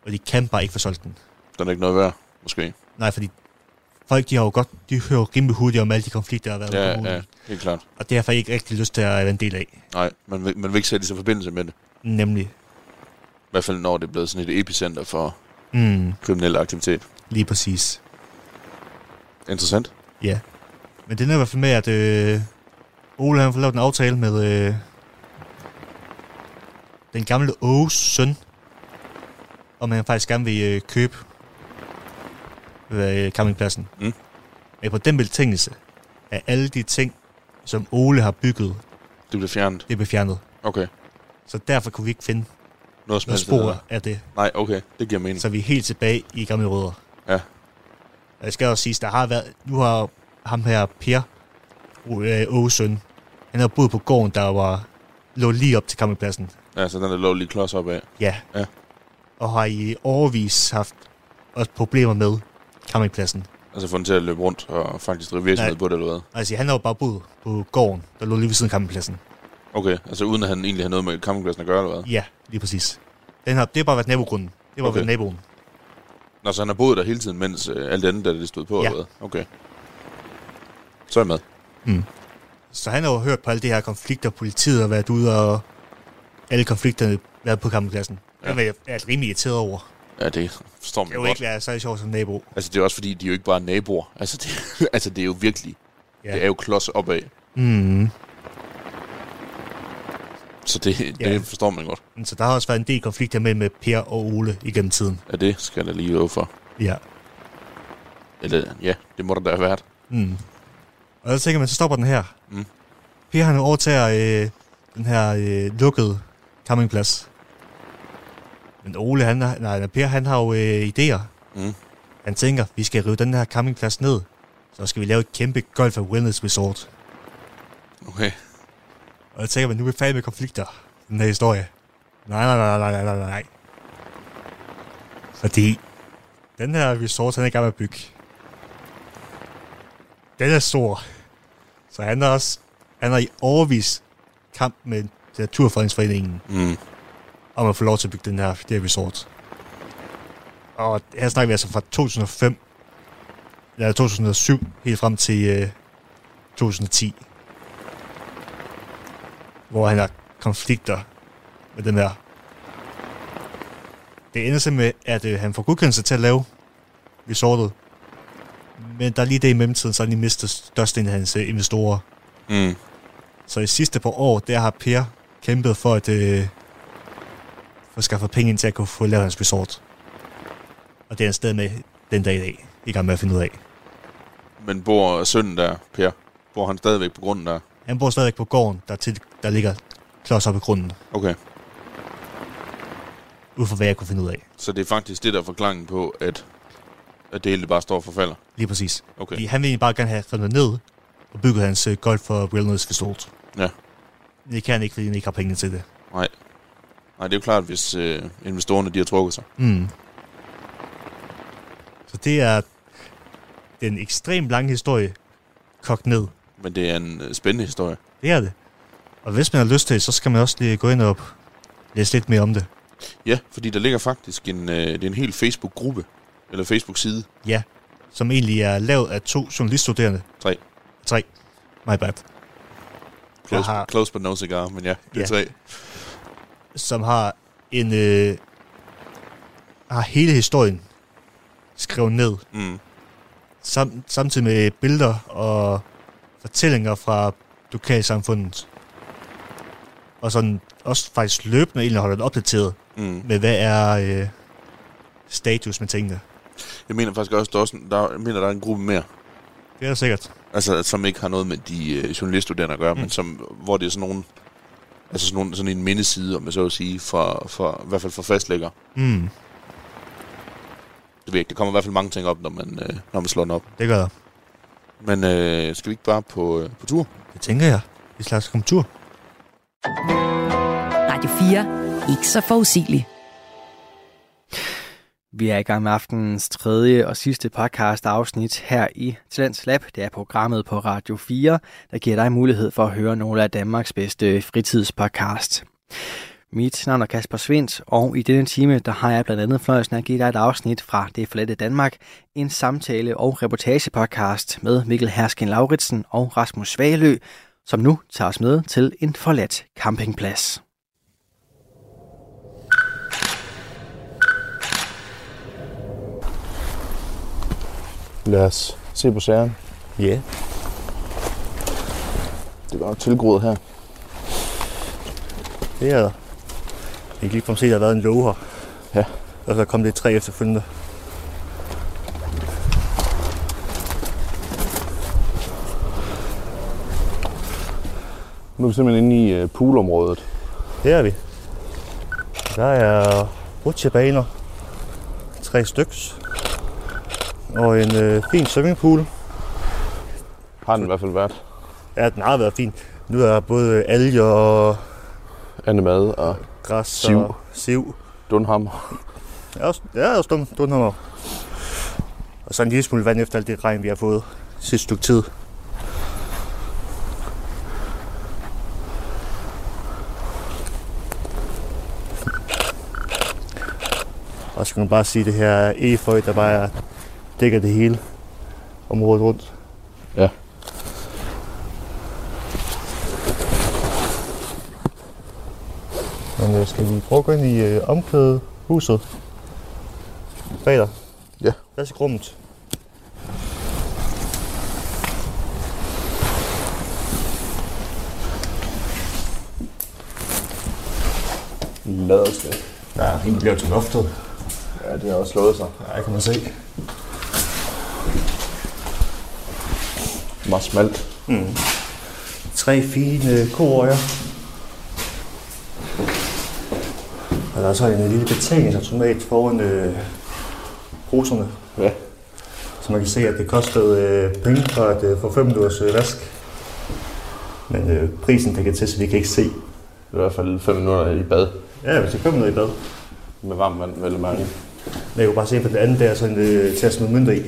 F: Og de kan bare ikke få solgt den.
G: Der er da ikke noget værd, måske.
F: Nej, fordi folk de har jo godt, de hører jo rimelig hurtigt om alle de konflikter, der har været med
G: Ja,
F: kommunen.
G: ja, helt klart.
F: Og det har jeg faktisk ikke rigtig lyst til at være en del af.
G: Nej, man vil, man vil ikke sætte sig i forbindelse med det.
F: Nemlig.
G: I hvert fald når det er blevet sådan et epicenter for
F: Mm.
G: kriminel aktivitet.
F: Lige præcis.
G: Interessant.
F: Ja. Men det er i hvert fald med, at øh, Ole han får lavet en aftale med øh, den gamle Åges søn, om han faktisk gerne vil øh, købe øh, campingpladsen.
G: Mm.
F: Men på den betingelse, at alle de ting, som Ole har bygget,
G: Det blev fjernet.
F: det blev fjernet.
G: Okay.
F: Så derfor kunne vi ikke finde
G: Noget som
F: noget
G: helst
F: spor
G: andet.
F: af det.
G: Nej, okay. Det giver mening.
F: Så vi er helt tilbage i gamle rødder.
G: Ja.
F: Og jeg skal også sige, der har været... Nu har ham her, Per Ågesøn, han har boet på gården, der var, lå lige op til campingpladsen.
G: Ja, så den der lå lige klods op af.
F: Ja.
G: Ja.
F: Og har i overvis haft også problemer med campingpladsen.
G: Altså få den til at løbe rundt og faktisk drive virksomhed
F: Nej.
G: på det eller hvad.
F: Altså, han har jo bare boet på gården, der lå lige ved siden af campingpladsen.
G: Okay, altså uden at han egentlig har noget med campingpladsen at gøre eller hvad.
F: Ja, lige præcis. Den har, det har bare været nabogrunden. Det var
G: Okay.
F: okay. været naboen.
G: Nå, så han har boet der hele tiden, mens øh, alt andet, der det stod på
F: Ja.
G: eller hvad. Okay. Så er jeg med.
F: Så han har jo hørt på alle de her konflikter, politiet har været ude og alle konflikterne været på campingpladsen.
G: Ja.
F: Ja. Det var jeg er rimelig irriteret over.
G: Ja, det forstår man
F: Det vil
G: godt.
F: ikke være særlig sjovt som nabo.
G: Altså, det er også fordi, de er jo ikke bare naboer. Altså, det, altså, det er jo virkelig. Ja.
F: Ja.
G: Det er jo klods op af.
F: Mm.
G: Så det,
F: Ja.
G: det forstår man godt.
F: Så der har også været en del konflikter mellem Per og Ole igennem tiden.
G: Ja, det skal jeg da lige love for.
F: Ja.
G: Eller ja, det må der da have været.
F: Mm. Og så tænker man, så stopper den her.
G: Mm.
F: Per han overtager øh, den her øh, lukkede campingplads. Men Ole, han, har- nej, nej, Per han har jo øh, idéer.
G: Mm.
F: Han tænker, vi skal rive den her campingplads ned. Så skal vi lave et kæmpe golf og wellness resort.
G: Okay.
F: Og jeg tænker, man nu er vi færdige med konflikter. Den her historie. Nej, nej, nej, nej, nej, nej, nej. Fordi den her resort, han er i gang med at bygge. Den er stor. Så han er også, han er i overvis kamp med Naturfredningsforeningen,
G: Mm.
F: om at få lov til at bygge den her, det her resort. Og her snakker vi altså fra 2005, eller 2007, helt frem til øh, 2010, hvor han har konflikter med den her. Det ender simpelthen med, at øh, han får godkendelse til at lave resortet. Men der er lige det i mellemtiden, så har han lige mistet størstedelen af hans øh, investorer.
A: Mm.
F: Så i sidste par år, der har Per kæmpet for at øh, få skaffet penge ind til at kunne få lavet hans resort. Og det er han stadig med den dag i dag. I gang med at finde ud af.
A: Men bor sønnen der, Per? Bor han stadigvæk på grunden der?
F: Han bor stadigvæk på gården, der, til, der ligger klods op i grunden,
A: Okay.
F: ud fra hvad jeg kunne finde ud af.
A: Så det er faktisk det, der er forklaringen på, at, at det hele bare står og forfalder.
F: Lige præcis.
A: Okay.
F: Fordi han vil egentlig bare gerne have revet ned og bygget hans øh, golf og wellness resort.
A: Ja.
F: Men Det kan han ikke, fordi han ikke har penge til det.
A: Nej, det er jo klart, hvis øh, investorerne de har trukket sig.
F: Mm. Så det er den ekstremt lange historie kogt ned.
A: Men det er en øh, spændende historie.
F: Det er det. Og hvis man har lyst til det, så skal man også lige gå ind og læse lidt mere om det.
A: Ja, fordi der ligger faktisk en, øh, det er en hel Facebook-gruppe, eller Facebook-side.
F: Som egentlig er lavet af to journaliststuderende.
A: Tre.
F: Tre. My bad.
A: Close,
F: Aha.
A: close but no cigar, men ja, det er
F: Ja.
A: tre.
F: som har en øh, har hele historien skrevet ned,
A: Mm.
F: sam, samtidig med billeder og fortællinger fra lokalsamfundet. Og sådan også faktisk løbende egentlig holder det opdateret
A: Mm.
F: med, hvad er øh, status med tingene.
A: Jeg mener faktisk også, der er, også, en- der, jeg mener, der er en gruppe mere,
F: Det er der sikkert.
A: altså, som ikke har noget med de øh, journaliststuderende at gøre, mm. men som, hvor det er sådan nogle, altså sådan, nogle, sådan en mindeside, om jeg så vil sige, fra, fra, i hvert fald fra fastlægger.
F: Mm,
A: Det ved jeg ikke, der kommer i hvert fald mange ting op, når man, øh, når man slår den op.
F: det gør der.
A: Men øh, skal vi ikke bare på, øh, på tur?
F: Det tænker jeg. Vi slags komme tur.
B: Radio 4. Ikke så forudsigelig.
C: Vi er i gang med aftenens tredje og sidste podcast afsnit her i Talents Lab. Det er programmet på Radio 4, der giver dig mulighed for at høre nogle af Danmarks bedste fritidspodcast. Mit navn er Kasper Svendt, og i denne time der har jeg blandt andet fløjelsen at give dig et afsnit fra Det forladte Danmark, en samtale- og reportagepodcast med Mikkel Hersken Lauritsen og Rasmus Svalø, som nu tager os med til en forladt campingplads.
G: Lad os se på særen.
F: Ja. Yeah.
G: Det var jo tilgroet her.
F: Det er der. Jeg kan lige komme se, at der har været en låge her.
G: Ja.
F: Og så kom det tre efterfølgende.
G: Nu er vi simpelthen inde i øh, poolområdet.
F: Det er vi. Der er rutsjebaner. Tre styks. Og en øh, fin swimmingpool.
G: Har den i hvert fald været.
F: Ja, den har været fin. Nu er der både øh, alger og
G: Andemad og
F: græs
G: Siv.
F: og siv.
G: Dunhammer.
F: Det er også, det er også dum, dunhammer. Og så en lille smule vand efter alt det regn, vi har fået sidste stykke tid. Og så kan man bare sige, at det her er efeu, der bare er- dækker det hele området rundt.
G: Ja.
F: Men øh, skal vi prøve at gå ind i øh, omklædehuset? Bag dig.
G: Ja.
F: Hvad er rummet?
G: Lad os det.
F: Der er en, der bliver til loftet.
G: Ja, det har også slået sig.
F: Der kan man se.
G: Meget smalt.
F: Tre fine koøjer. Og der er så en øh, lille betalingsautomat foran øh, bruserne,
G: Ja.
F: så man kan se, at det kostede øh, penge for at øh, få 5 minutters øh, vask. Men øh, prisen dækker til, så vi kan ikke se.
G: Det er i hvert fald 5 minutter i bad.
F: Ja, hvis det kommer noget i bad.
G: Med varmt vand, vel at mærke.
F: Men jeg kunne bare se på den anden der, sådan øh, til at smide mønter i.
G: Nå,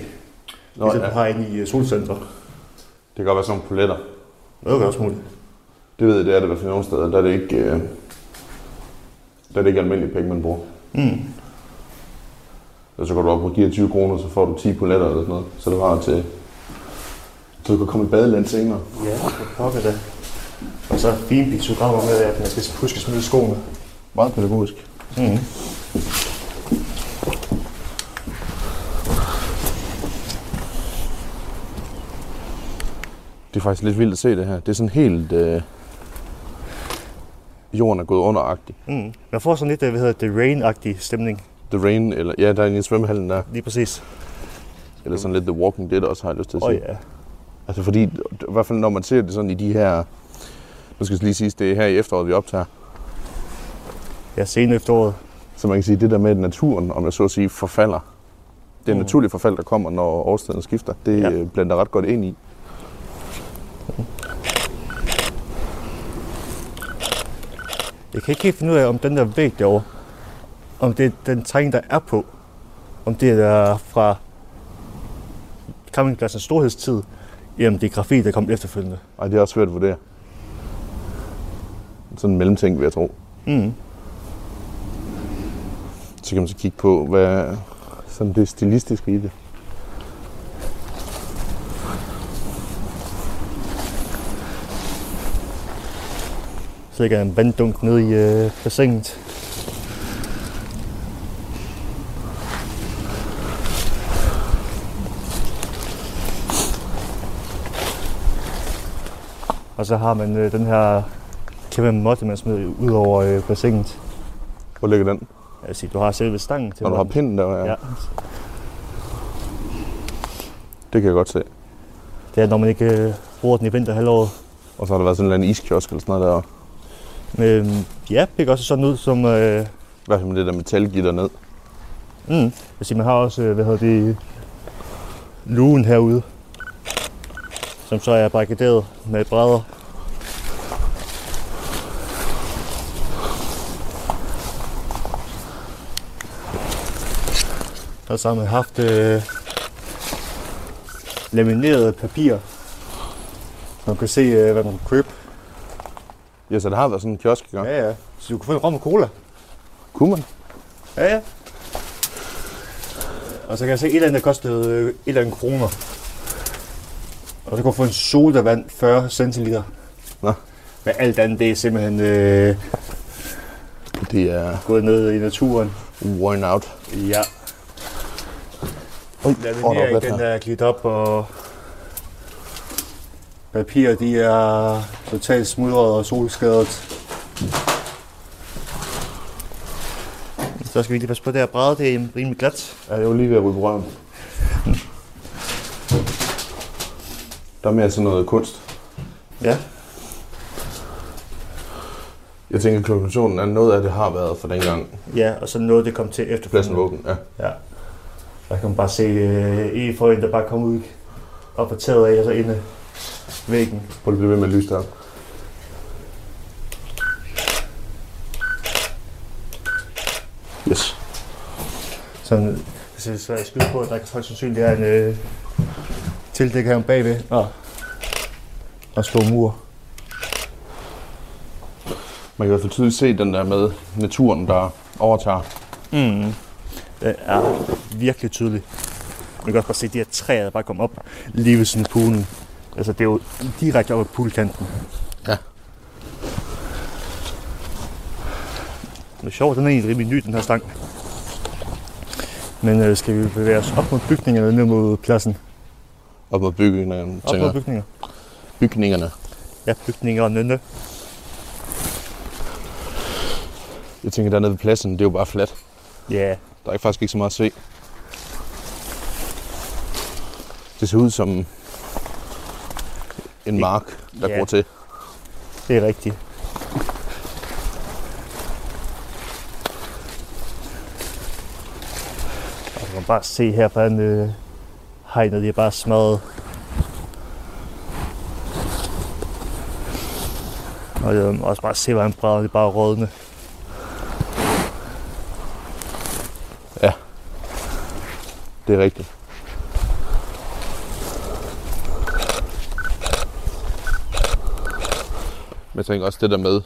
F: Ligesom
G: ja.
F: du har inde i øh, solcentret.
G: Det kan godt være sådan nogle poletter.
F: Noget gør også muligt.
G: Det ved jeg, det er det i hvert fald nogle steder. Der er det ikke, øh, der er det ikke almindelige penge, man bruger.
F: Mm.
G: Og så går du op og giver 20 kroner, så får du 10 poletter eller sådan noget. Så du har til... Så du kan komme i badeland senere.
F: Ja, for pokker da. Og så fine piktogrammer med, at man skal huske at smide skoene.
G: Meget pædagogisk.
F: Mm.
G: Det er faktisk lidt vildt at se det her. Det er sådan helt... Øh, jorden er gået underagtigt.
F: Mm. Man får sådan lidt, øh, hvad hedder det, rain-agtig stemning.
G: The Rain, eller ja, der er en i svømmehallen der.
F: Lige præcis.
G: Eller sådan lidt The Walking Dead også, har jeg lyst til at
F: Åh oh,
G: sige.
F: ja.
G: Altså fordi, i hvert fald når man ser det sådan i de her... Nu skal jeg lige sige, det er her i efteråret, vi optager.
F: Ja, sen efteråret.
G: Så man kan sige, det der med, at naturen, om jeg så at sige, forfalder. Det er
F: Mm.
G: naturlige forfald, der kommer, når årstiden skifter. Det
F: Ja.
G: ja. blander ret godt ind i.
F: Jeg kan ikke helt finde ud af, om den der væg derovre, om det er den tegning, der er på, om det er fra campingpladsens storhedstid, jamen det er grafik, der kom efterfølgende.
G: Og det er også svært at vurdere. Sådan en mellemting, vil jeg tro.
F: Mm.
G: Så kan man så kigge på, hvad sådan det stilistiske i det.
F: Så ligger en vanddunk nede i øh, bassinet. Og så har man øh, den her kæmpe måtte, man smider ud over øh, bassinet.
G: Hvor ligger den?
F: Jeg vil sige, du har selve stangen til
G: Når du har
F: den.
G: pinden der, ja.
F: Ja.
G: det kan jeg godt se.
F: Det er, når man ikke øh, bruger den i vinterhalvåret.
G: Og så har der været sådan en eller anden iskiosk eller sådan noget der.
F: Men øhm, ja, det kan også sådan ud som... Øh,
G: I hvert fald med det der metalgitter ned.
F: mm, jeg vil sige, man har også, øh, hvad hedder det, lugen herude. Som så er barrikaderet med brædder. Og så har man haft øh, lamineret papir. Man kan se, øh, hvad man kan købe.
G: Ja, så der har været sådan en kiosk i gang. Ja.
F: Ja, ja. Så du kan få en rom og cola.
G: Kunne man?
F: Ja, ja. Og så kan jeg se, at et eller andet kostede øh, et eller andet kroner. Og så kunne jeg få en sodavand 40 centiliter.
G: Nå.
F: Men alt andet, det er simpelthen øh,
G: Det er
F: gået ned i naturen.
G: worn out.
F: Ja.
G: Ui,
F: Den her, den er glidt op, og papirer, de er totalt smuldret og solskadet. Så skal vi lige passe på, det her bræde, det er rimelig glat.
G: Ja, det var lige ved at ryge på røven. Der er mere sådan noget kunst.
F: Ja.
G: Jeg tænker, konklusionen er, at noget af det har været for dengang.
F: Ja, og så noget, det kom til efter
G: Pladsen var åben, ja.
F: Ja. Der kan man bare se øh, e der bare kom ud og på taget af, og så inde i væggen.
G: Prøv lige at blive ved med at lyse der. Yes.
F: Sådan, hvis jeg skal skyde på, at der højst sandsynligt er en øh, tildæk her bagved. Og, og stor mur.
G: Man kan i hvert fald tydeligt se den der med naturen, der overtager.
F: Mm. Det er virkelig tydeligt. Man kan også bare se de her træer, der bare kom op lige ved sådan poolen. Altså, det er jo direkte op ad poolkanten.
G: Ja.
F: Det er sjovt, den er egentlig rimelig ny, den her stang. Men øh, skal vi bevæge os op mod bygningerne eller ned mod pladsen?
G: Op mod bygningerne,
F: Op
G: tænker
F: mod
G: jeg.
F: bygninger?
G: Bygningerne.
F: Ja, bygninger og nynne.
G: Jeg tænker, dernede ved pladsen, det er jo bare fladt.
F: Ja,
G: Der er ikke- faktisk ikke så meget at se. Det ser ud som en mark, der
F: Ja.
G: går til.
F: det er rigtigt. Og du kan bare se her, hvordan øh, hegnet de er bare smadret. Og øh, også bare se, hvordan brædderne de bare er rådne.
G: Det er rigtigt. Men jeg tænker også det der med,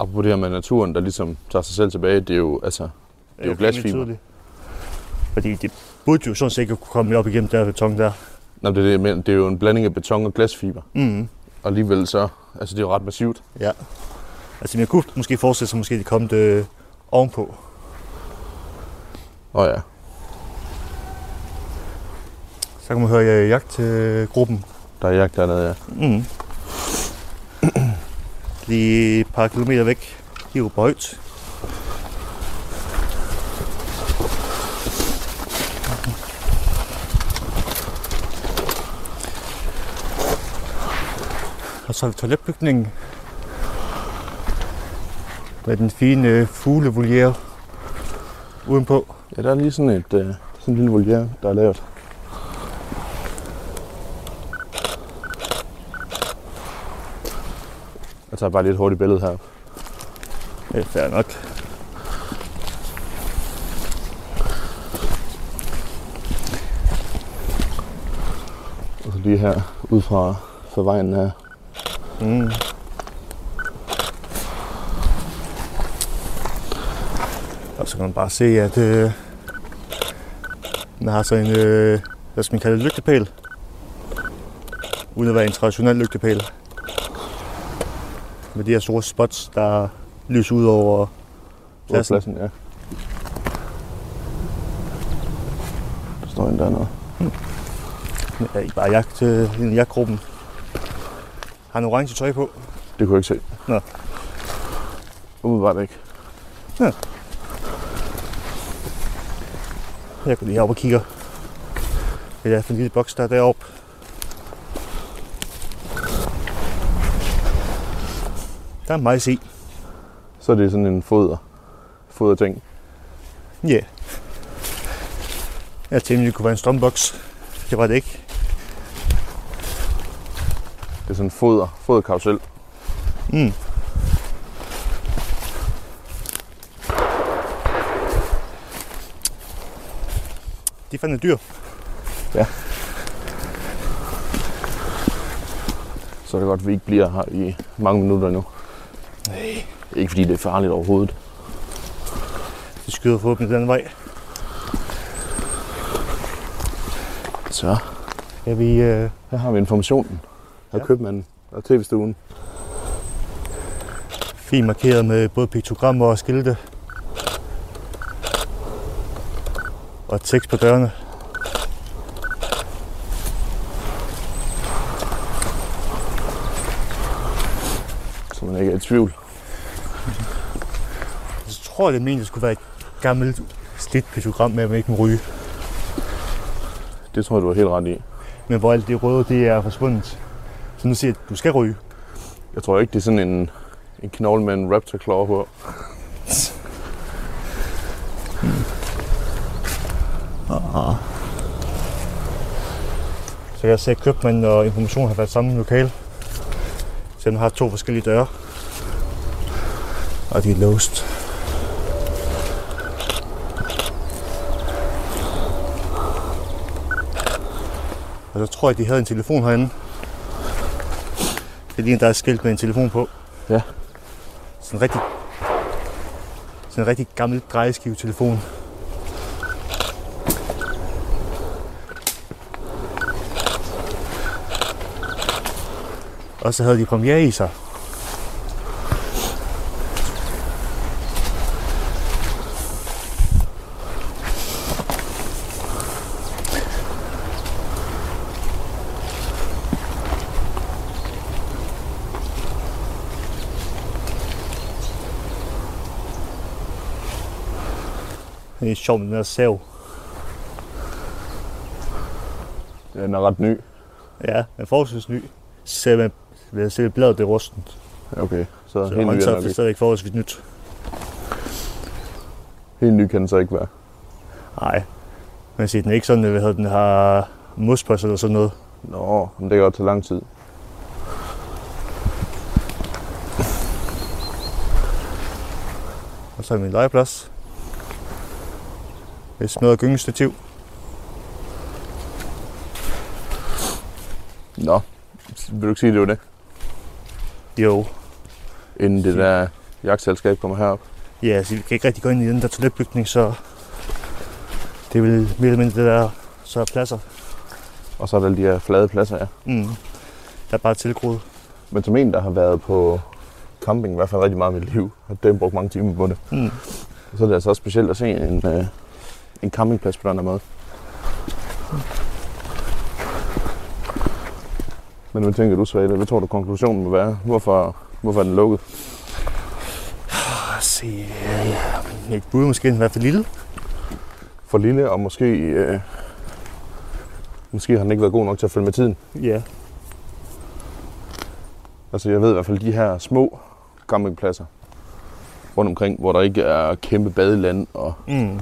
G: apropos det her med naturen, der ligesom tager sig selv tilbage, det er jo, altså, Det er jo
F: Øh,
G: glasfiber.
F: rimelig tydeligt. Fordi det burde jo sådan set ikke kunne komme op igennem den her beton der.
G: nej, det, er det, jeg mener. det er jo en blanding af beton og glasfiber.
F: Mm.
G: Og alligevel så, altså det er jo ret massivt.
F: Ja. Altså, men jeg kunne måske forestille sig, at måske det kom det ovenpå.
G: Åh ja,
F: Så kan man høre jeg jagt til gruppen.
G: Der er jagt dernede, ja.
F: Mm. Lige et par kilometer væk. Hiver på højt. Og så er vi toiletbygningen. Med den fine øh, fuglevoliere udenpå.
G: Ja, der er lige sådan et øh, sådan en lille voliere, der er lavet. Jeg tager bare lige et hurtigt billede her.
F: Det er fair nok.
G: Og så lige her, ud fra, fra vejen her.
F: Mm. Og så kan man bare se, at øh, den har sådan en, øh, hvad skal man kalde det, lygtepæl. Uden at være en traditionel lygtepæl. Med de her store spots, der lyser ud over
G: Ude af
F: pladsen.
G: pladsen, ja. Der står en dernede.
F: Ja, I bare jagt, øh, en jagtgruppen. Har en orange tøj på.
G: Det kunne jeg ikke se.
F: Nå.
G: Umiddelbart ikke.
F: Jeg går lige op og kigger. Det er i hvert fald en lille boks, der er deroppe. Der er majs i.
G: Så er det sådan en foder. Foder ting.
F: Ja. Yeah. Jeg tænkte, det kunne være en strømboks. Det var det ikke.
G: Det er sådan en foder. Foderkarusel.
F: Mm. De fandt et dyr.
G: Så er det godt, at vi ikke bliver her i mange minutter nu.
F: Nej.
G: Ikke fordi det er farligt overhovedet.
F: De skyder forhåbentlig den vej.
G: Så,
F: Ja, vi, øh,
G: her har vi informationen. Her ja.
F: Ja.
G: købmanden og tv-stuen.
F: fint markeret med både piktogrammer og skilte. Og tekst på dørene.
G: Så man ikke er i tvivl.
F: Jeg tror, det mente, det skulle være et gammelt slidt piktogram med, at man ikke må ryge.
G: Det tror jeg, du har helt ret i.
F: Men hvor alt det røde, det er forsvundet. Så nu siger jeg, at du skal ryge.
G: Jeg tror ikke, det er sådan en, en knogle med en raptor claw på.
F: Så jeg ser, at købmanden og information har været samme lokal. Så den har to forskellige døre. Og de er låst. Og så tror jeg, de havde en telefon herinde. Det er lige en, der er skilt med en telefon på.
G: Ja.
F: Sådan en rigtig, sådan en rigtig gammel drejeskive-telefon. Og så havde de premiere i sig. Det er sjovt med den der sav.
G: Ja, Den er ret ny.
F: Ja, den er forholdsvis ny. Så ser man, ved at se bladet, det er rustent.
G: Okay, så,
F: Så
G: helt ny, er den nok
F: håndtaget er
G: ikke.
F: stadigvæk forholdsvis nyt.
G: helt ny kan den så ikke være.
F: Nej. Man siger, den er ikke sådan, at hvad den har mos på sig eller sådan noget.
G: Nå, men det kan godt tage lang tid.
F: Og så er min legeplads. Et smadret gyngestativ.
G: Nå, vil du ikke sige, det var det?
F: Jo.
G: Inden det der jagtselskab kommer herop.
F: Ja,
H: altså,
F: så vi kan ikke rigtig gå ind i den der toiletbygning, så... Det er vel mere eller mindre det der, så er pladser.
G: Og så er der alle de her flade pladser, ja.
F: Mm. Der er bare tilgroet.
G: Men som en, der har været på camping i hvert fald rigtig meget i mit liv, har den brugt mange timer på det.
F: Mm.
G: Og så er det altså også specielt at se en, øh, en campingplads på den her måde. Men hvad tænker du, Svane? Hvad tror du, konklusionen må være? Hvorfor, hvorfor er den lukket?
F: Bare se.
G: Et bud måske den være for lille? For lille, og måske... Øh, måske har den ikke været god nok til at følge med tiden.
H: Ja.
G: Altså, jeg ved i hvert fald, de her små campingpladser rundt omkring, hvor der ikke er kæmpe badeland, og
H: Mm.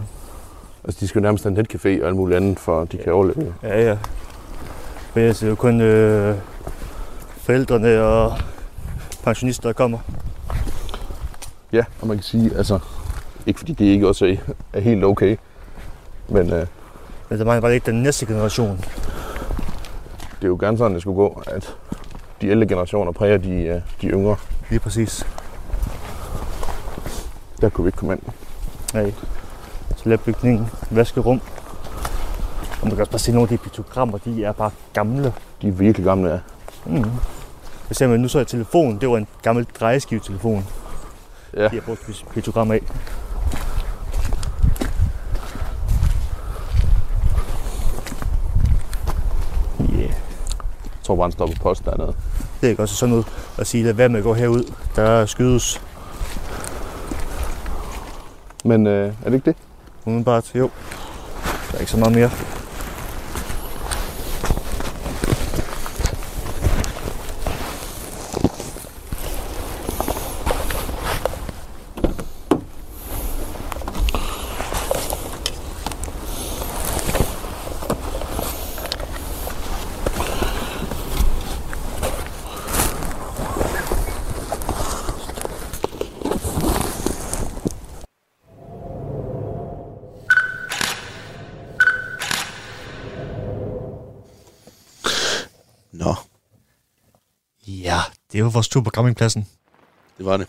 G: altså, de skal jo nærmest have en netcafé og alt muligt andet, for at de kan overleve.
H: Ja, ja. Men altså, det er jo kun øh, forældrene og pensionister, der kommer.
G: Ja, og man kan sige, altså, ikke fordi det ikke også er, er helt okay, men øh,
H: Men der mangler bare ikke den næste generation.
G: det er jo gerne sådan, det skulle gå, at de ældre generationer præger de, øh, de yngre.
H: Lige præcis.
G: Der kunne vi ikke komme ind.
H: Nej. Så lav bygningen, vaskerum. Og man kan også bare se, nogle af de piktogrammer, de er bare gamle.
G: De er virkelig gamle, ja.
H: Mm. For eksempel, nu så jeg telefonen, det var en gammel drejeskivetelefon.
G: Ja.
H: De har brugt pik- piktogrammer af. Yeah.
G: Jeg tror bare, han stopper post dernede.
H: Det er også sådan noget at sige, lad være med at gå herud. Der skydes
G: Men øh, er det ikke det?
H: udenbart. Jo, der er ikke så meget mere.
A: Nå,
F: Ja, det var vores tur på campingpladsen.
A: det var det.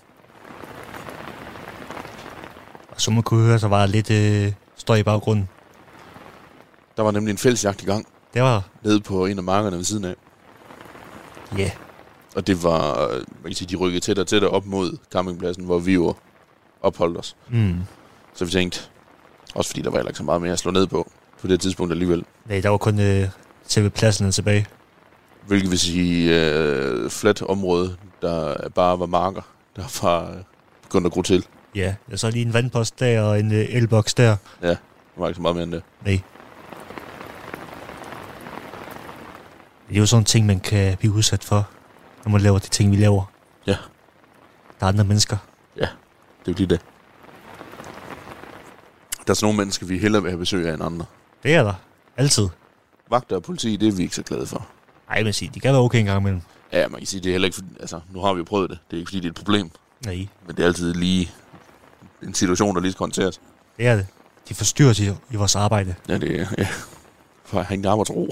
F: Og som man kunne høre, så var der lidt øh, støj i baggrunden.
A: Der var nemlig en fællesjagt i gang
F: Det var,
A: nede på en af markerne ved siden af.
F: ja,
A: Og det var, øh, man kan sige, de rykkede tættere og tættere op mod campingpladsen, hvor vi jo opholdt os.
F: mm.
A: Så vi tænkte, også fordi der var heller ikke så meget mere at slå ned på, på det tidspunkt alligevel.
F: Nej, der var kun øh, selve pladsen tilbage.
A: Hvilket vil sige øh, fladt område, der bare var marker, der var øh, begyndt at gro til.
F: Ja, jeg så lige en vandpost der og en øh, elboks der.
A: Der var ikke så meget mere end det.
F: Det er jo sådan en ting, man kan blive udsat for, når man laver de ting, vi laver.
A: Ja.
F: Der er andre mennesker.
A: Det er jo lige det. Der er sådan nogle mennesker, vi hellere vil have besøg af end andre.
F: Det er der. Altid.
A: Vagter og politi, det er vi ikke så glade for.
F: Nej, men sig, de kan være okay en gang imellem.
A: Ja, man kan sige, det er heller ikke, fordi- altså, nu har vi jo prøvet det. Det er ikke, fordi det er et problem,
F: Nej,
A: men det er altid lige en situation, der lige skal håndteres.
F: det er det. De forstyrrer os i, i vores arbejde.
A: Ja, det er, ja. For at have en arbejdsro.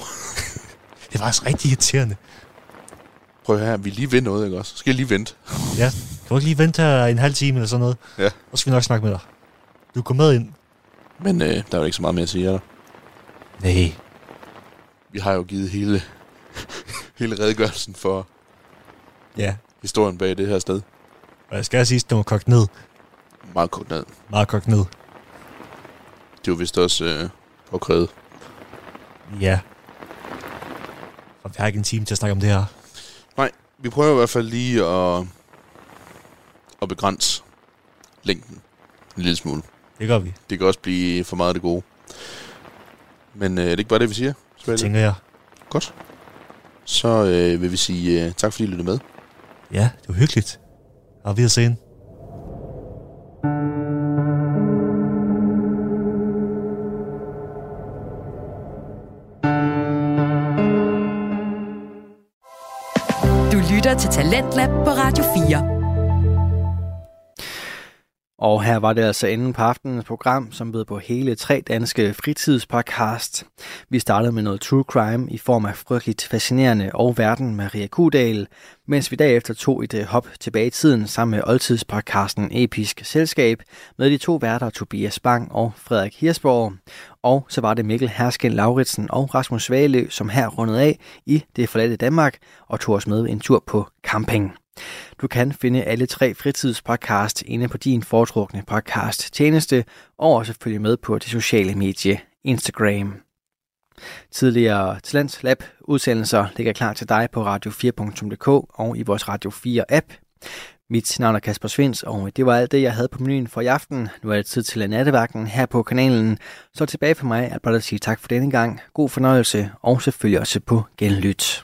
F: Det er faktisk rigtig irriterende.
A: Prøv at høre her, vi er lige ved noget, ikke også? Skal jeg lige vente?
F: Ja, kan du ikke lige vente her en halv time eller sådan noget?
A: Ja.
F: Og så skal vi nok snakke med dig. Du går med ind.
A: Men øh, der er jo ikke så meget mere at sige, er der?
F: Nej.
A: Vi har jo givet hele, hele redegørelsen for
F: Ja,
A: historien bag det her sted.
F: og jeg skal også sige, at den var kogt ned.
A: Meget kort ned.
F: Meget kogt ned.
A: Det var vist også øh, påkrævet.
F: Ja. Og vi har ikke en time til at snakke om det her.
A: Vi prøver i hvert fald lige at, at begrænse længden en lille smule.
F: Det gør vi,
A: Det kan også blive for meget af det gode. Men øh, det er ikke bare det, vi siger. Svante?
F: tænker jeg.
A: Godt. Så øh, vil vi sige øh, tak, fordi I lyttede med.
F: Ja, det var hyggeligt. Og vi har sen.
B: Du lytter til Talentlab på Radio 4.
C: Og her var det altså enden på aftenens program, som bød på hele tre danske fritidspodcast. Vi startede med noget true crime i form af frygteligt fascinerende og verden Maria Kudal, mens vi derefter tog et øh, hop tilbage i tiden sammen med oldtidspodcasten Episk Selskab med de to værter Tobias Bang og Frederik Hirsborg. Og så var det Mikkel Hersken Lauritsen og Rasmus Svagelø, som her rundede af i Det forladte Danmark og tog os med en tur på camping. Du kan finde alle tre fritidspodcast inde på din foretrukne podcast tjeneste, og også følge med på det sociale medie Instagram. Tidligere Talents Lab udsendelser ligger klar til dig på radio4.dk og i vores Radio 4 app. Mit navn er Kasper Svens, og det var alt det, jeg havde på menuen for i aften. Nu er det tid til nattevagten her på kanalen. Så tilbage for mig er blot at sige tak for denne gang. God fornøjelse, og selvfølgelig også på genlyt.